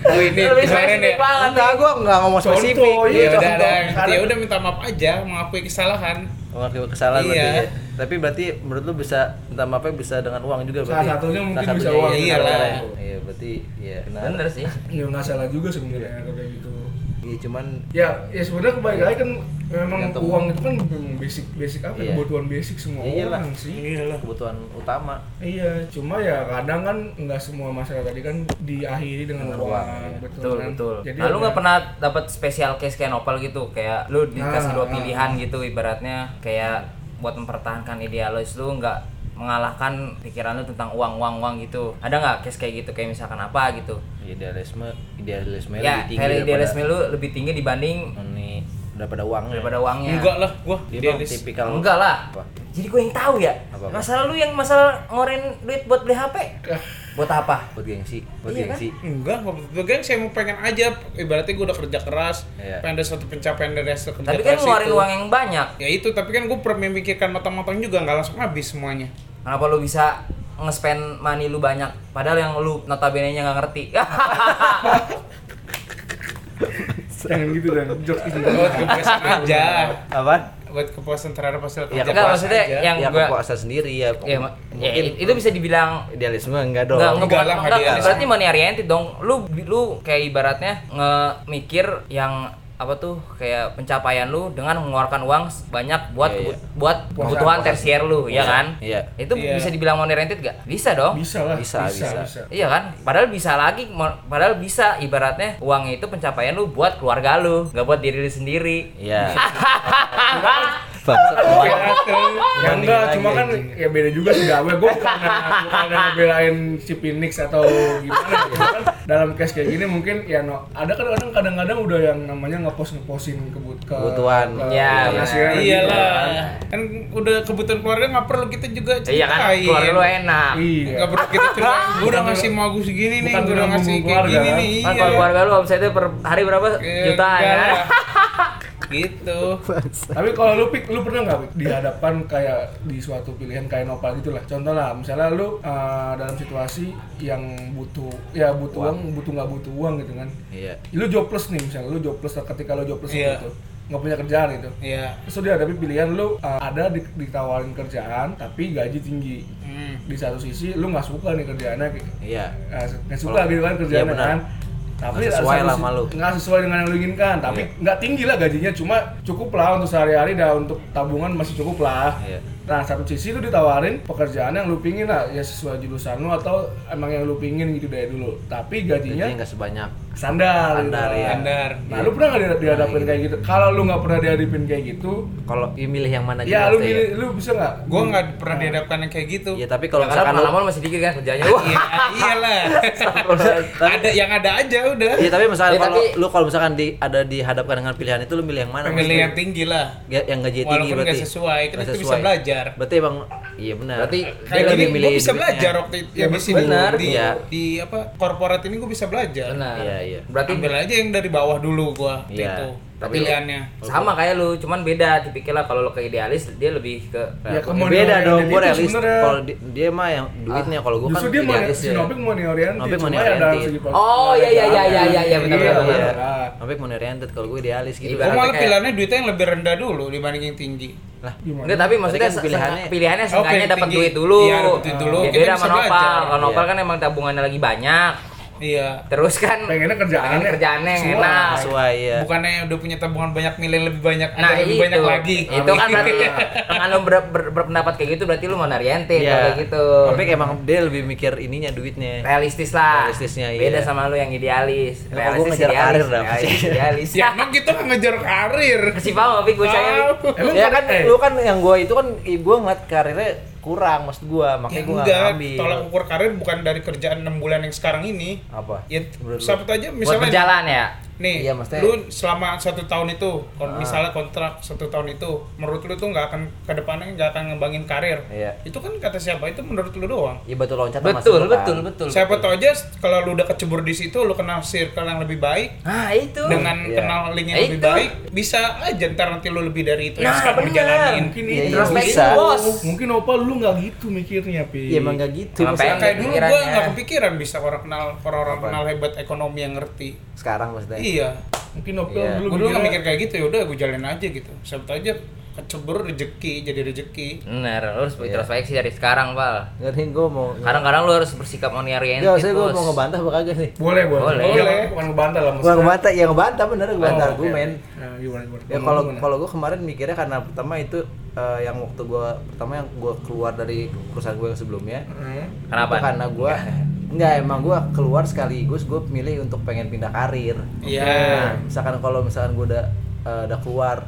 Speaker 5: Oh, ini
Speaker 1: Lebih
Speaker 5: kemarin
Speaker 1: spesifik
Speaker 5: ya.
Speaker 1: banget.
Speaker 4: Enggak, gua nggak ngomong
Speaker 3: Contoh,
Speaker 4: spesifik.
Speaker 5: Ya
Speaker 3: Iya,
Speaker 5: udah, udah,
Speaker 3: contoh.
Speaker 5: ya udah minta maaf aja, mengakui kesalahan.
Speaker 4: Mengakui kesalahan
Speaker 5: Iya.
Speaker 4: berarti ya. Tapi berarti menurut lu bisa entah apa bisa dengan uang juga berarti. ya?
Speaker 3: Salah satunya mungkin
Speaker 4: Salah
Speaker 3: bisa
Speaker 4: satunya,
Speaker 3: uang.
Speaker 4: Iya,
Speaker 5: Iyalah.
Speaker 4: benar. Iya, berarti iya benar.
Speaker 1: Bener sih.
Speaker 3: Ya nggak salah juga sebenarnya kalau kayak gitu.
Speaker 4: Iya, cuman
Speaker 3: Ya, ya sebenarnya kembali lagi kan memang
Speaker 4: Tergantung.
Speaker 3: uang itu kan memang basic basic apa
Speaker 4: Iya.
Speaker 3: ya, kebutuhan basic semua
Speaker 4: Iya lah.
Speaker 3: orang sih. Iyalah.
Speaker 4: kebutuhan utama.
Speaker 3: Iya, cuma ya kadang kan nggak semua masalah tadi kan diakhiri dengan uang,
Speaker 4: Dengan uang,
Speaker 3: betul,
Speaker 1: Betul,
Speaker 3: kan?
Speaker 1: betul.
Speaker 3: Jadi
Speaker 1: nah, lu
Speaker 3: ada-
Speaker 1: nggak
Speaker 3: *laughs*
Speaker 1: pernah dapat spesial case kayak Nopal gitu, kayak lu dikasih
Speaker 3: Nah,
Speaker 1: dua
Speaker 3: nah.
Speaker 1: pilihan gitu, ibaratnya kayak buat mempertahankan idealis lu nggak mengalahkan pikiran lu tentang uang uang uang gitu. Ada nggak case kayak gitu, kayak misalkan apa gitu?
Speaker 4: Idealisme, idealisme
Speaker 1: ya, kayak idealisme lu lebih tinggi dibanding
Speaker 4: ini daripada uang ya.
Speaker 1: daripada
Speaker 4: Iya.
Speaker 1: uangnya.
Speaker 5: Enggak lah, gua
Speaker 4: Dia bang
Speaker 5: idealis.
Speaker 4: tipikal
Speaker 1: Enggak lah.
Speaker 4: Apa?
Speaker 1: Jadi gue yang tahu ya.
Speaker 4: Apa-apa?
Speaker 1: Masalah lu yang masalah ngoren duit buat beli HP. buat apa
Speaker 4: buat gengsi buat
Speaker 1: Iya kan?
Speaker 4: gengsi
Speaker 5: Enggak, nggak betul. Geng, saya mau pengen aja. Ibaratnya gue udah kerja keras,
Speaker 4: Iya.
Speaker 5: pengen ada satu pencapaian dari hasil kerja
Speaker 1: tapi kan
Speaker 5: keras
Speaker 1: ngeluarin
Speaker 5: itu.
Speaker 1: uang yang banyak
Speaker 5: Ya itu, tapi kan gue pernah memikirkan matang-matang juga, nggak langsung habis
Speaker 4: *laughs*
Speaker 5: semuanya.
Speaker 1: kenapa lu bisa nge-spend money lu banyak padahal yang lu notabene nya nggak ngerti
Speaker 4: Iya,
Speaker 1: *laughs*
Speaker 3: Jangan gitu dan jokes
Speaker 5: *laughs*
Speaker 3: gitu.
Speaker 5: Buat kepuasan aja,
Speaker 4: apa
Speaker 5: buat kepuasan terhadap hasil kerja
Speaker 4: Ya,
Speaker 1: enggak
Speaker 5: keras
Speaker 1: maksudnya
Speaker 5: aja.
Speaker 1: yang
Speaker 4: yang ya,
Speaker 1: gua
Speaker 4: kepuasan sendiri ya,
Speaker 1: ya, ma- ya, i- itu bisa dibilang
Speaker 4: idealisme enggak dong
Speaker 1: Enggak, enggak,
Speaker 5: Enggak
Speaker 1: bukan-
Speaker 5: lah,
Speaker 1: enggak,
Speaker 5: hadiah.
Speaker 1: berarti money oriented dong. Lu lu kayak ibaratnya nge-mikir yang apa tuh kayak pencapaian lu dengan mengeluarkan uang banyak buat
Speaker 4: Iya, iya.
Speaker 1: buat kebutuhan
Speaker 3: puasa.
Speaker 1: tersier lu, ya
Speaker 4: Iya,
Speaker 1: kan?
Speaker 4: iya.
Speaker 1: Itu
Speaker 5: Iya.
Speaker 1: bisa dibilang money oriented gak? Bisa dong.
Speaker 3: Bisa lah.
Speaker 4: Bisa, bisa.
Speaker 1: Iya kan? Padahal bisa lagi, mo- padahal bisa ibaratnya uang itu pencapaian lu buat keluarga lu, nggak buat diri lu sendiri.
Speaker 4: Iya. Bangsat,
Speaker 3: Ya, kan.
Speaker 4: Bang.
Speaker 3: Ya
Speaker 4: Bandingin
Speaker 3: enggak,
Speaker 4: lagi
Speaker 3: cuma kan
Speaker 4: anjing.
Speaker 3: ya beda juga sih gawe. Gue bukan bukan ngebelain si Phoenix atau gimana. ya. Kan dalam case kayak gini mungkin ya no, ada kan orang kadang-kadang udah yang namanya ngepost ngepostin kebut ke
Speaker 4: Kebutuhan.
Speaker 1: Iya,
Speaker 3: penghasilan gitu
Speaker 5: Iyalah.
Speaker 3: kan.
Speaker 5: Kan udah kebutuhan keluarga nggak perlu kita juga ceritain.
Speaker 1: Iya kan? Keluarga lu enak.
Speaker 3: Iya.
Speaker 5: Nggak perlu kita ceritain. Gue udah ngasih mau gue segini nih,
Speaker 3: Bukan
Speaker 5: gue udah
Speaker 3: dengan
Speaker 5: ngasih kayak
Speaker 3: keluarga,
Speaker 5: gini
Speaker 3: kan?
Speaker 5: nih.
Speaker 1: Kan kalau keluarga lu omsetnya per hari berapa?
Speaker 5: Eh,
Speaker 1: Jutaan ya.
Speaker 5: Iya. enggak
Speaker 1: kan?
Speaker 5: lah. *laughs* gitu.
Speaker 3: Tapi kalau lu pik, lu pernah nggak Pik, dihadapkan kayak di suatu pilihan kayak nopal gitu lah. Contoh lah, misalnya lu eh, dalam situasi yang butuh, ya butuh uang, butuh nggak butuh uang gitu kan.
Speaker 4: Iya.
Speaker 3: Lu jobless nih misalnya, lu jobless ketika lu jobless
Speaker 5: Iya.
Speaker 3: gitu, nggak punya kerjaan gitu.
Speaker 5: Iya.
Speaker 3: Terus lu dihadapi pilihan lu eh, ada di- ditawarin kerjaan tapi gaji tinggi.
Speaker 5: Hmm.
Speaker 3: Di satu sisi lu nggak suka nih kerjaannya,
Speaker 4: Iya.
Speaker 3: eh, nggak suka
Speaker 4: Kalau-
Speaker 3: gitu kan kerjaannya
Speaker 4: iya, benar.
Speaker 3: kan. Tapi
Speaker 4: Nggak sesuai
Speaker 3: satu
Speaker 4: lah
Speaker 3: sisi-
Speaker 4: sama lu.
Speaker 3: nggak sesuai dengan yang lu inginkan tapi
Speaker 4: Iya.
Speaker 3: nggak tinggi lah gajinya cuma cukup lah untuk sehari-hari dan untuk tabungan masih cukup lah
Speaker 4: Iya.
Speaker 3: nah satu sisi lu ditawarin pekerjaan yang lu pingin lah ya sesuai jurusan lu atau emang yang lu pingin gitu dari dulu tapi
Speaker 4: Gajinya
Speaker 3: gajinya
Speaker 4: enggak sebanyak.
Speaker 3: sandar gitu
Speaker 4: Standar,
Speaker 3: kan.
Speaker 4: iya.
Speaker 5: Standar.
Speaker 3: nah lu pernah nggak dihad- dihadapin kayak gitu kalau lu nggak pernah dihadapin kayak gitu
Speaker 4: Kalau you milih yang mana
Speaker 3: ya
Speaker 4: jelas
Speaker 3: lu
Speaker 4: deh,
Speaker 3: pilih- lu bisa nggak
Speaker 5: Gue nggak pernah dihadapkan yang kayak gitu.
Speaker 4: Ya tapi kalau
Speaker 1: Ya, karena
Speaker 4: misalkan lu
Speaker 1: pengalaman masih dikit kan kerjanya. Wah.
Speaker 5: Iya, iyalah. ada yang ada aja udah.
Speaker 4: Iya tapi misalnya
Speaker 1: Ya,
Speaker 4: kalau
Speaker 1: tapi-
Speaker 4: lu kalau misalkan di ada dihadapkan dengan pilihan itu lu milih yang mana?
Speaker 5: Pemilih
Speaker 4: Maksudnya,
Speaker 5: yang tinggi lah.
Speaker 4: ga- yang gaji Iya, tinggi
Speaker 5: Walaupun nggak
Speaker 4: berarti.
Speaker 5: sesuai, kan
Speaker 4: Nggak
Speaker 5: itu bisa
Speaker 4: sesuai.
Speaker 5: belajar.
Speaker 4: Berarti emang iya benar.
Speaker 1: Berarti
Speaker 4: dia
Speaker 5: Kayak
Speaker 4: lebih
Speaker 5: gini,
Speaker 4: milih
Speaker 5: gue bisa
Speaker 4: duitnya.
Speaker 5: belajar waktu itu. Ya,
Speaker 3: Ya,
Speaker 5: di sini
Speaker 1: benar.
Speaker 5: di,
Speaker 4: Iya.
Speaker 5: di apa korporat ini gue bisa belajar.
Speaker 1: Benar.
Speaker 4: Iya, iya.
Speaker 1: Berarti
Speaker 5: Ambil aja yang dari bawah dulu gue waktu
Speaker 4: Iya.
Speaker 5: itu
Speaker 1: Tapi-
Speaker 5: pilihannya.
Speaker 1: sama kayak lu, cuman beda tipikalnya kalau lu ke idealis dia lebih ke
Speaker 3: Ya,
Speaker 4: Nah,
Speaker 3: ke money
Speaker 4: beda
Speaker 3: oriented
Speaker 4: dong,
Speaker 3: itu
Speaker 4: gue realis.
Speaker 3: sebenarnya.
Speaker 4: Kalau di- dia mah yang duitnya, kalau gue kan
Speaker 3: justru dia mau
Speaker 4: idealis
Speaker 3: si
Speaker 4: ya.
Speaker 3: Nobik mau oriented
Speaker 4: Nobik
Speaker 3: cuma
Speaker 4: money
Speaker 3: ya dalam
Speaker 4: oriented.
Speaker 3: segi
Speaker 1: Oh, iya, iya, iya, iya, iya, iya, benar,
Speaker 3: Iya,
Speaker 1: benar, benar.
Speaker 3: benar.
Speaker 4: Nobik money oriented, kalau gue idealis gitu.
Speaker 5: Gue
Speaker 1: Ibarat-
Speaker 5: malah
Speaker 1: kayak-
Speaker 5: pilihannya duitnya yang lebih rendah dulu dibanding yang tinggi.
Speaker 4: Lah,
Speaker 3: Gimana?
Speaker 1: Enggak, tapi maksudnya
Speaker 4: Berarti kan
Speaker 1: pilihannya
Speaker 4: pilihannya-
Speaker 1: pilihannya
Speaker 5: Oh,
Speaker 1: seenggaknya
Speaker 5: pilih
Speaker 1: dapat
Speaker 5: tinggi.
Speaker 1: duit dulu.
Speaker 5: Iya, dapat duit dulu,
Speaker 1: Ya,
Speaker 5: kita
Speaker 1: beda
Speaker 5: bisa
Speaker 1: sama
Speaker 5: belajar.
Speaker 1: Nopal. Kalau Nopal
Speaker 4: Iya.
Speaker 1: kan emang tabungannya lagi banyak.
Speaker 5: Iya.
Speaker 1: Terus kan
Speaker 3: Pengennya kerjaannya-
Speaker 5: ya?
Speaker 1: pengen kerjaannya yang
Speaker 3: Semua.
Speaker 1: enak.
Speaker 4: sesuai ya.
Speaker 5: Bukannya udah punya tabungan banyak milih lebih banyak
Speaker 1: Iya. Nah,
Speaker 5: ada lebih
Speaker 1: itu.
Speaker 5: banyak lagi. Iya.
Speaker 1: Itu kan berarti dengan lu ber- ber- berpendapat kayak gitu berarti lu mau oriented
Speaker 4: Iya.
Speaker 1: kalau kayak gitu.
Speaker 4: Nobik emang dia lebih mikir ininya duitnya.
Speaker 1: realistis lah.
Speaker 4: Realistisnya, iya.
Speaker 1: Beda sama lu yang idealis.
Speaker 4: Ya, kalau gua ngejar karir dah, *laughs*
Speaker 1: Realistis,
Speaker 4: pasti.
Speaker 1: idealis.
Speaker 5: Ya emang kita kan ngejar karir.
Speaker 1: Kasih paham, tapi gue sayang.
Speaker 5: Tahu. Iya
Speaker 3: Emang
Speaker 4: ya kan
Speaker 3: eh,
Speaker 4: lu kan yang gue itu kan gue ngeliat karirnya kurang maksud gue
Speaker 5: Ya
Speaker 4: makanya gue nggak
Speaker 5: enggak,
Speaker 4: ngambil
Speaker 5: tolak ukur karir bukan dari kerjaan 6 bulan yang sekarang ini.
Speaker 4: apa
Speaker 5: Ya,
Speaker 4: Menurut lu?
Speaker 5: sabut aja
Speaker 1: Buat
Speaker 5: misalnya
Speaker 1: berjalan ya.
Speaker 5: nih,
Speaker 4: Iya, maksudnya-
Speaker 5: lu selama satu tahun itu,
Speaker 1: Ah.
Speaker 5: kalau misalnya kontrak satu tahun itu, menurut lu tuh nggak akan ke depannya nggak akan ngembangin karir.
Speaker 4: Iya.
Speaker 5: Itu kan kata siapa? Itu menurut lu doang.
Speaker 4: ya batu loncatan
Speaker 1: Betul,
Speaker 4: maksud lu kan.
Speaker 1: betul, betul.
Speaker 5: Siapa tahu aja kalau lu udah kecebur di situ, lu kenal circle yang lebih baik,
Speaker 1: Ah, itu.
Speaker 5: dengan
Speaker 4: Iya.
Speaker 5: kenal link yang
Speaker 1: Ya
Speaker 5: lebih
Speaker 1: itu.
Speaker 5: baik bisa aja ntar nanti lu lebih dari itu yang
Speaker 1: Nah,
Speaker 5: sekarang
Speaker 1: bener.
Speaker 5: dijalanin
Speaker 3: mungkin
Speaker 4: Iya,
Speaker 3: itu
Speaker 4: iya,
Speaker 3: mungkin-
Speaker 4: bisa.
Speaker 1: Bos.
Speaker 3: mungkin opal lu nggak gitu mikirnya pi
Speaker 4: ya emang nggak gitu
Speaker 1: Sampai-
Speaker 4: maksudnya.
Speaker 5: kayak dulu gua
Speaker 1: Pikirannya.
Speaker 5: nggak kepikiran bisa orang kenal orang orang
Speaker 4: Apa?
Speaker 5: kenal hebat ekonomi yang ngerti
Speaker 4: sekarang maksudnya
Speaker 5: iya
Speaker 3: mungkin opal
Speaker 4: Iya.
Speaker 3: dulu
Speaker 5: gua dulu nggak
Speaker 3: mikirnya-
Speaker 5: mikir kayak gitu ya udah gua jalanin aja gitu siapa tahu aja kecebur rezeki jadi rezeki
Speaker 1: Bener, lu
Speaker 4: Iya.
Speaker 1: harus introspeksi dari sekarang, Pal.
Speaker 4: nggak nih gue mau
Speaker 1: Kadang-kadang lu harus bersikap money oriented,
Speaker 4: ya saya gue
Speaker 1: Bos.
Speaker 4: mau ngebantah apa kagak nih
Speaker 3: boleh boleh
Speaker 1: Boleh.
Speaker 3: Iya, kan, bukan ngebantah lah
Speaker 4: gue
Speaker 3: maksudnya
Speaker 4: ngebantah ya ngebantah bener gue
Speaker 3: Oh,
Speaker 4: bantah
Speaker 3: oke.
Speaker 4: argumen
Speaker 3: Nah, gimana gimana
Speaker 4: ya kalau kalau gue kemarin mikirnya karena pertama itu eh, yang waktu gue pertama yang gue keluar dari perusahaan gue yang sebelumnya
Speaker 3: Hmm.
Speaker 1: Kenapa?
Speaker 4: itu karena gue Enggak, emang gue keluar sekaligus gue milih untuk pengen pindah karir
Speaker 5: iya
Speaker 4: Nah, misalkan kalau misalkan gue udah eh, udah keluar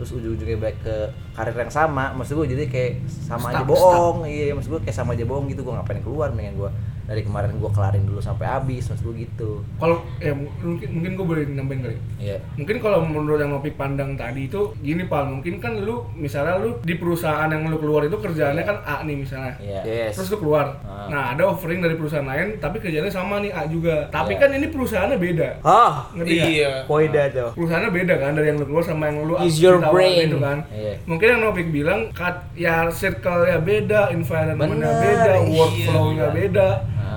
Speaker 4: terus ujung-ujungnya balik ke karir yang iya, sama maksud gue jadi kayak sama aja bohong iya maksud gue kayak sama aja bohong gitu gue ngapain keluar mendingan gue dari kemarin gua kelarin dulu sampai habis maksud gua gitu
Speaker 3: Kalau ya mungkin mungkin gue boleh nambahin kali.
Speaker 4: Iya.
Speaker 3: Mungkin kalau menurut yang Opik pandang tadi itu gini Pal, mungkin kan lu misalnya lu di perusahaan yang lu keluar itu kerjaannya kan A nih misalnya.
Speaker 1: Iya.
Speaker 4: Yes.
Speaker 3: Terus lu keluar.
Speaker 4: Ah.
Speaker 3: Nah, ada offering dari perusahaan lain tapi kerjanya sama nih A juga. Tapi
Speaker 4: Iya.
Speaker 3: kan ini perusahaannya beda.
Speaker 4: Ah,
Speaker 3: Ngerti nggak?
Speaker 5: Iya.
Speaker 4: poin dah tuh.
Speaker 3: Perusahaannya beda kan dari yang lu keluar sama yang lu
Speaker 1: Use your
Speaker 3: ditawarin
Speaker 1: brain.
Speaker 3: itu kan.
Speaker 4: Iya.
Speaker 3: Mungkin yang Nopik bilang cut ya circle-nya beda, environment-nya
Speaker 4: Bener,
Speaker 3: beda,
Speaker 4: iya.
Speaker 3: workflow-nya beda.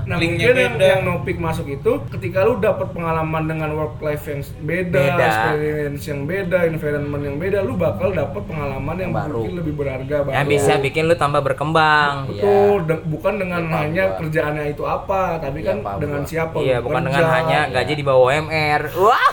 Speaker 3: Nah,
Speaker 5: Link-nya
Speaker 3: mungkin yang,
Speaker 5: beda.
Speaker 3: yang Nopik masuk itu ketika lu dapat pengalaman dengan work life yang beda,
Speaker 4: Beda.
Speaker 3: experience yang beda, environment yang beda, lu bakal dapat pengalaman yang
Speaker 4: Baru.
Speaker 3: mungkin lebih berharga baru.
Speaker 4: Iya.
Speaker 1: Yang bisa bikin lu tambah berkembang.
Speaker 3: Betul, de- bukan dengan
Speaker 4: Iya, Paham
Speaker 3: hanya
Speaker 4: gua.
Speaker 3: kerjaannya itu apa, tapi
Speaker 4: Iya,
Speaker 3: kan
Speaker 4: paham
Speaker 3: dengan
Speaker 4: gua.
Speaker 3: siapa
Speaker 1: Iya,
Speaker 3: lu
Speaker 1: bukan dengan
Speaker 3: kerja.
Speaker 1: hanya gaji di bawah UMR. Wah.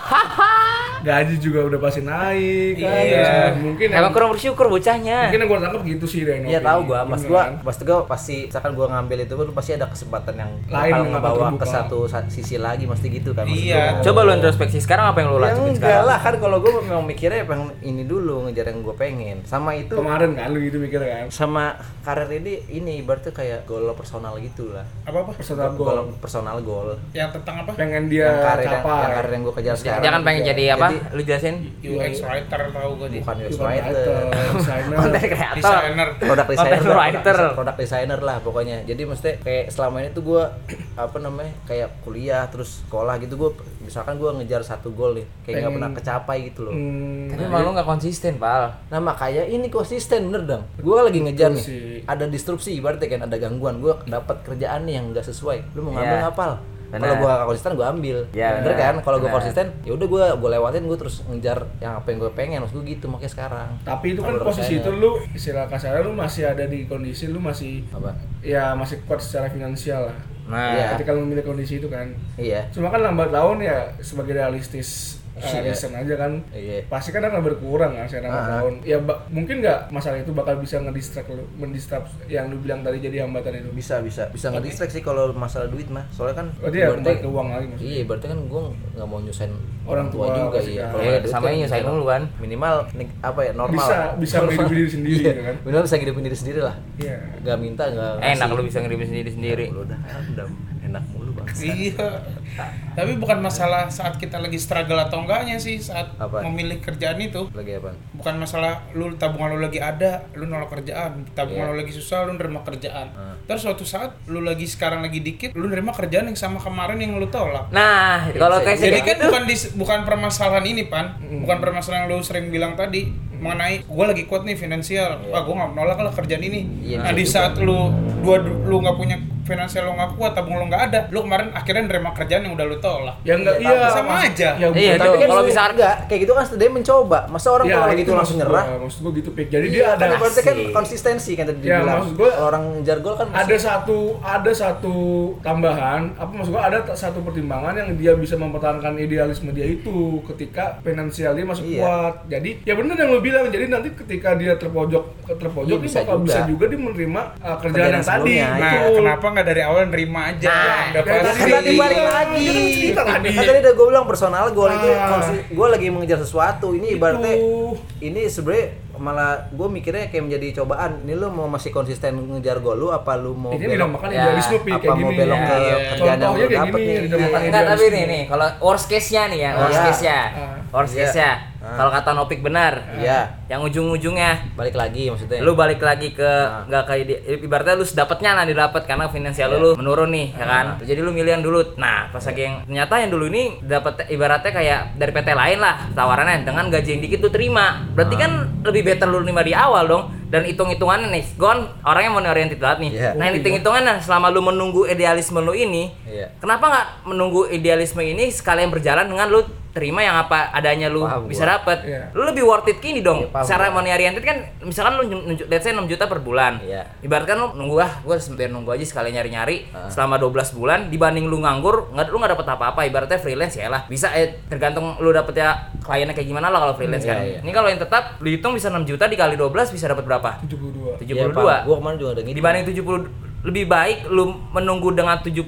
Speaker 3: gaji juga udah pasti naik kan.
Speaker 5: Iya.
Speaker 3: Dan mungkin yang,
Speaker 1: Emang kurang bersyukur bocahnya.
Speaker 3: mungkin yang gua tangkap gitu sih Reno. kan?
Speaker 4: Iya tahu gua, pas gua pas gua pasti misalkan gua ngambil itu lu pasti ada kesempatan yang
Speaker 3: Lain
Speaker 4: bakal
Speaker 3: yang
Speaker 4: ngebawa
Speaker 3: terbuka.
Speaker 4: ke satu sa- sisi lagi mesti gitu kan. maksud
Speaker 5: Iya.
Speaker 4: gua.
Speaker 1: Coba lu introspeksi sekarang apa yang lu
Speaker 4: Ya
Speaker 1: lakuin
Speaker 4: enggak
Speaker 1: sekarang?
Speaker 4: lah kan kalau gua memang mikirnya pengen ini dulu ngejar yang gua pengen. Sama itu
Speaker 3: kemarin kan lu gitu mikir kan.
Speaker 4: sama karir ini ini ibaratnya kayak goal personal gitu lah.
Speaker 5: Apa apa?
Speaker 3: Personal goal.
Speaker 4: Goal personal goal.
Speaker 5: Yang tentang apa?
Speaker 3: Pengen dia
Speaker 4: yang karir yang,
Speaker 3: capai.
Speaker 4: yang karir yang gua kejar sekarang.
Speaker 1: Dia kan pengen
Speaker 4: juga.
Speaker 1: jadi apa?
Speaker 4: Jadi, Iya.
Speaker 1: Lu jelasin.
Speaker 5: UX writer tahu gue deh.
Speaker 4: bukan UX
Speaker 3: Bukan
Speaker 4: writer.
Speaker 3: writer,
Speaker 4: *laughs*
Speaker 3: designer.
Speaker 1: Konten
Speaker 4: kan?
Speaker 1: kreator.
Speaker 5: Designer.
Speaker 4: produk designer
Speaker 1: Content
Speaker 4: lah,
Speaker 1: writer.
Speaker 4: product- product designer lah pokoknya jadi mesti kayak selama ini tuh gue *clears throat* apa namanya kayak kuliah terus sekolah gitu gue misalkan gue ngejar satu goal nih kayak nggak
Speaker 3: Pengen-
Speaker 4: pernah kecapai gitu loh
Speaker 3: Hmm,
Speaker 1: Tapi emang lu nggak konsisten, Pal.
Speaker 4: nah makanya ini konsisten bener dong gue lagi ngejar nih
Speaker 3: sih.
Speaker 4: ada disrupsi berarti kan ada gangguan gue dapat kerjaan nih yang nggak sesuai lu mau ngambil
Speaker 1: Iya.
Speaker 4: ngapal
Speaker 1: Bener.
Speaker 4: kalau gue gak konsisten gue ambil
Speaker 1: Iya,
Speaker 4: bener
Speaker 1: bener.
Speaker 4: kan kalau gue
Speaker 1: Bener.
Speaker 4: konsisten ya udah gue gue lewatin gue terus ngejar yang apa yang gue pengen maksud gue gitu makanya sekarang
Speaker 3: tapi itu kan
Speaker 4: Menurut
Speaker 3: posisi
Speaker 4: saya.
Speaker 3: itu lu istilah kasarnya lu masih ada di kondisi lu masih
Speaker 4: apa
Speaker 3: ya masih kuat secara finansial lah.
Speaker 4: Iya.
Speaker 1: Nah,
Speaker 3: Ketika lu memilih kondisi itu kan.
Speaker 4: iya
Speaker 3: Cuma kan lambat laun ya sebagai realistis uh,
Speaker 4: Iya.
Speaker 3: reason aja kan
Speaker 4: iya
Speaker 3: pasti kan akan berkurang kan saya lambat
Speaker 4: Ah.
Speaker 3: laun ya ba- mungkin nggak masalah itu bakal bisa ngedistract lu mendistract yang lu bilang tadi jadi hambatan itu
Speaker 4: bisa bisa bisa nggak distract sih kalau masalah duit mah soalnya kan
Speaker 3: berarti ya kembali ke uang lagi maksudnya
Speaker 4: iya berarti kan gue nggak mau nyusahin
Speaker 3: Orang tua
Speaker 4: juga
Speaker 3: pasti
Speaker 4: iya
Speaker 3: kan.
Speaker 4: kalau
Speaker 1: Iya,
Speaker 4: ada duit
Speaker 1: sama
Speaker 4: kan
Speaker 1: ini nyusahin lu kan.
Speaker 4: minimal nik- apa ya normal
Speaker 3: Bisa-
Speaker 4: lah.
Speaker 3: bisa hidup diri sendiri
Speaker 4: Iya,
Speaker 3: gitu kan.
Speaker 4: minimal bisa hidup diri sendiri lah
Speaker 3: iya
Speaker 4: nggak minta nggak
Speaker 1: enak
Speaker 4: ngasih.
Speaker 1: lu bisa ngirimin sendiri-sendiri.
Speaker 4: Lu udah udah enak mulu bang
Speaker 5: Iya. Tapi bukan masalah saat kita lagi struggle atau enggaknya sih saat
Speaker 4: Apa?
Speaker 5: memilih kerjaan itu.
Speaker 4: lagi apa
Speaker 5: Bukan masalah lu tabungan lu lagi ada, lu nolak kerjaan.
Speaker 4: Iya.
Speaker 5: Tabungan lu lagi susah, lu nerima kerjaan.
Speaker 4: Hmm.
Speaker 5: Terus suatu saat lu lagi sekarang lagi dikit, lu nerima kerjaan yang sama kemarin yang lu tolak.
Speaker 1: Nah, kalau
Speaker 4: iya, Bisa
Speaker 1: kayak
Speaker 5: Jadi
Speaker 1: gitu-
Speaker 5: kan bukan dis- bukan permasalahan ini pan, bukan permasalahan yang lu sering bilang tadi mengenai gue lagi kuat nih finansial,
Speaker 4: Iya.
Speaker 5: wah gue nggak menolak lah kerjaan ini.
Speaker 4: Iya, bisa
Speaker 5: nah di
Speaker 4: juga.
Speaker 5: saat lu dua lu nggak punya finansial lu nggak kuat, tabung lu nggak ada, lu kemarin akhirnya nerima kerjaan yang udah lu tolak.
Speaker 3: ya enggak
Speaker 4: Iya,
Speaker 3: iya
Speaker 5: sama
Speaker 3: mas-
Speaker 5: aja.
Speaker 3: ya,
Speaker 1: Iya,
Speaker 3: tapi
Speaker 1: tuh, kalau
Speaker 3: kan lu-
Speaker 1: bisa-
Speaker 4: misalnya enggak kayak gitu kan setidaknya mencoba masa orang
Speaker 3: ya,
Speaker 4: kalau
Speaker 3: itu
Speaker 4: gitu
Speaker 3: maksud
Speaker 4: langsung nyerah
Speaker 3: gua, maksud gua gitu pik jadi dia
Speaker 4: Iya,
Speaker 3: ada
Speaker 4: kan berarti kan
Speaker 1: sih.
Speaker 4: konsistensi kan tadi
Speaker 3: Ya,
Speaker 4: dibilang
Speaker 3: maksud gua,
Speaker 4: Kalau orang ngejar gol kan
Speaker 3: ada satu ada satu tambahan apa maksud gua ada t- satu pertimbangan yang dia bisa mempertahankan idealisme dia itu ketika finansial dia masih
Speaker 4: Iya.
Speaker 3: kuat jadi ya bener yang lo bilang jadi nanti ketika dia terpojok ke terpojok
Speaker 4: Iya,
Speaker 3: dia
Speaker 4: bisa
Speaker 3: bakal
Speaker 4: juga.
Speaker 3: bisa juga dia menerima uh, kerjaan
Speaker 4: Kerjaan
Speaker 3: yang tadi
Speaker 4: sebelumnya, Iya,
Speaker 5: Nah
Speaker 3: Betul.
Speaker 5: kenapa nggak dari awal nerima aja? udah
Speaker 3: dari
Speaker 5: pasti.
Speaker 4: Kan
Speaker 3: Iya,
Speaker 4: tadi balik
Speaker 3: iya,
Speaker 4: lagi.
Speaker 3: kan cerita tadi.
Speaker 4: Kan tadi udah gue bilang personal goal itu
Speaker 3: Ah. Gitu.
Speaker 4: gue lagi mengejar sesuatu. Ini ibaratnya
Speaker 3: Itu.
Speaker 4: ini sebenarnya malah gue mikirnya kayak menjadi cobaan. Ini lu mau masih konsisten ngejar goal lu apa lu mau
Speaker 3: ini
Speaker 4: belok
Speaker 3: dinamakan
Speaker 1: Ya,
Speaker 3: idealisme Pi,
Speaker 4: apa
Speaker 3: kayak
Speaker 4: mau
Speaker 3: gini
Speaker 4: belok ke
Speaker 1: Iya.
Speaker 4: kerjaan yang
Speaker 3: Contohnya
Speaker 4: lu
Speaker 3: kayak
Speaker 4: dapet
Speaker 3: gini,
Speaker 4: nih.
Speaker 3: dinamakan
Speaker 1: Nah, enggak, tapi nih, nih kalau worst case-nya nih ya, worst
Speaker 4: Iya.
Speaker 1: case-nya.
Speaker 3: Ah.
Speaker 1: Worst
Speaker 4: Iya.
Speaker 1: case-nya.
Speaker 4: Ah.
Speaker 1: Kalau kata Nopik benar,
Speaker 4: Iya,
Speaker 1: yang ujung-ujungnya
Speaker 4: balik lagi maksudnya. Ah.
Speaker 1: lu balik lagi ke nggak kayak di, ibaratnya lu dapatnya nanti dapat karena finansial
Speaker 4: Iya.
Speaker 1: lu menurun nih ya kan
Speaker 4: Ah.
Speaker 1: jadi lu milih yang dulu nah pas lagi yang ternyata yang dulu ini dapat ibaratnya kayak dari PT lain lah tawarannya dengan gaji yang dikit lu terima
Speaker 4: Ah.
Speaker 1: berarti kan lebih better lu terima di awal dong dan hitung-hitungannya nih gon orangnya money oriented banget nih
Speaker 4: Iya.
Speaker 1: nah yang hitung-hitungannya selama lu menunggu idealisme lu ini
Speaker 4: Iya.
Speaker 1: kenapa nggak menunggu idealisme ini sekalian berjalan dengan lu terima yang apa adanya lu
Speaker 4: Paham
Speaker 1: bisa
Speaker 4: gua.
Speaker 1: dapat
Speaker 3: Iya.
Speaker 1: lu lebih worth it gini dong
Speaker 4: Iya, paham
Speaker 1: secara
Speaker 4: gua.
Speaker 1: money oriented kan misalkan lu nunjuk let's say 6 juta per bulan.
Speaker 4: Iya.
Speaker 1: Ibaratkan lu nunggu ah gua biar nunggu aja sekali nyari-nyari selama 12 bulan dibanding lu nganggur nggak lu nggak dapet apa-apa ibaratnya freelance ya lah. Bisa eh, tergantung lu dapet ya kliennya kayak gimana lah kalau freelance
Speaker 4: Iya,
Speaker 1: kan.
Speaker 4: iya.
Speaker 1: Ini kalau yang tetap lu hitung bisa 6 juta dikali 12 bisa dapat berapa?
Speaker 4: Iya,
Speaker 3: 72
Speaker 1: 72.
Speaker 4: Gue kemarin juga ada gitu.
Speaker 1: dibanding 70 lebih baik lu menunggu dengan 72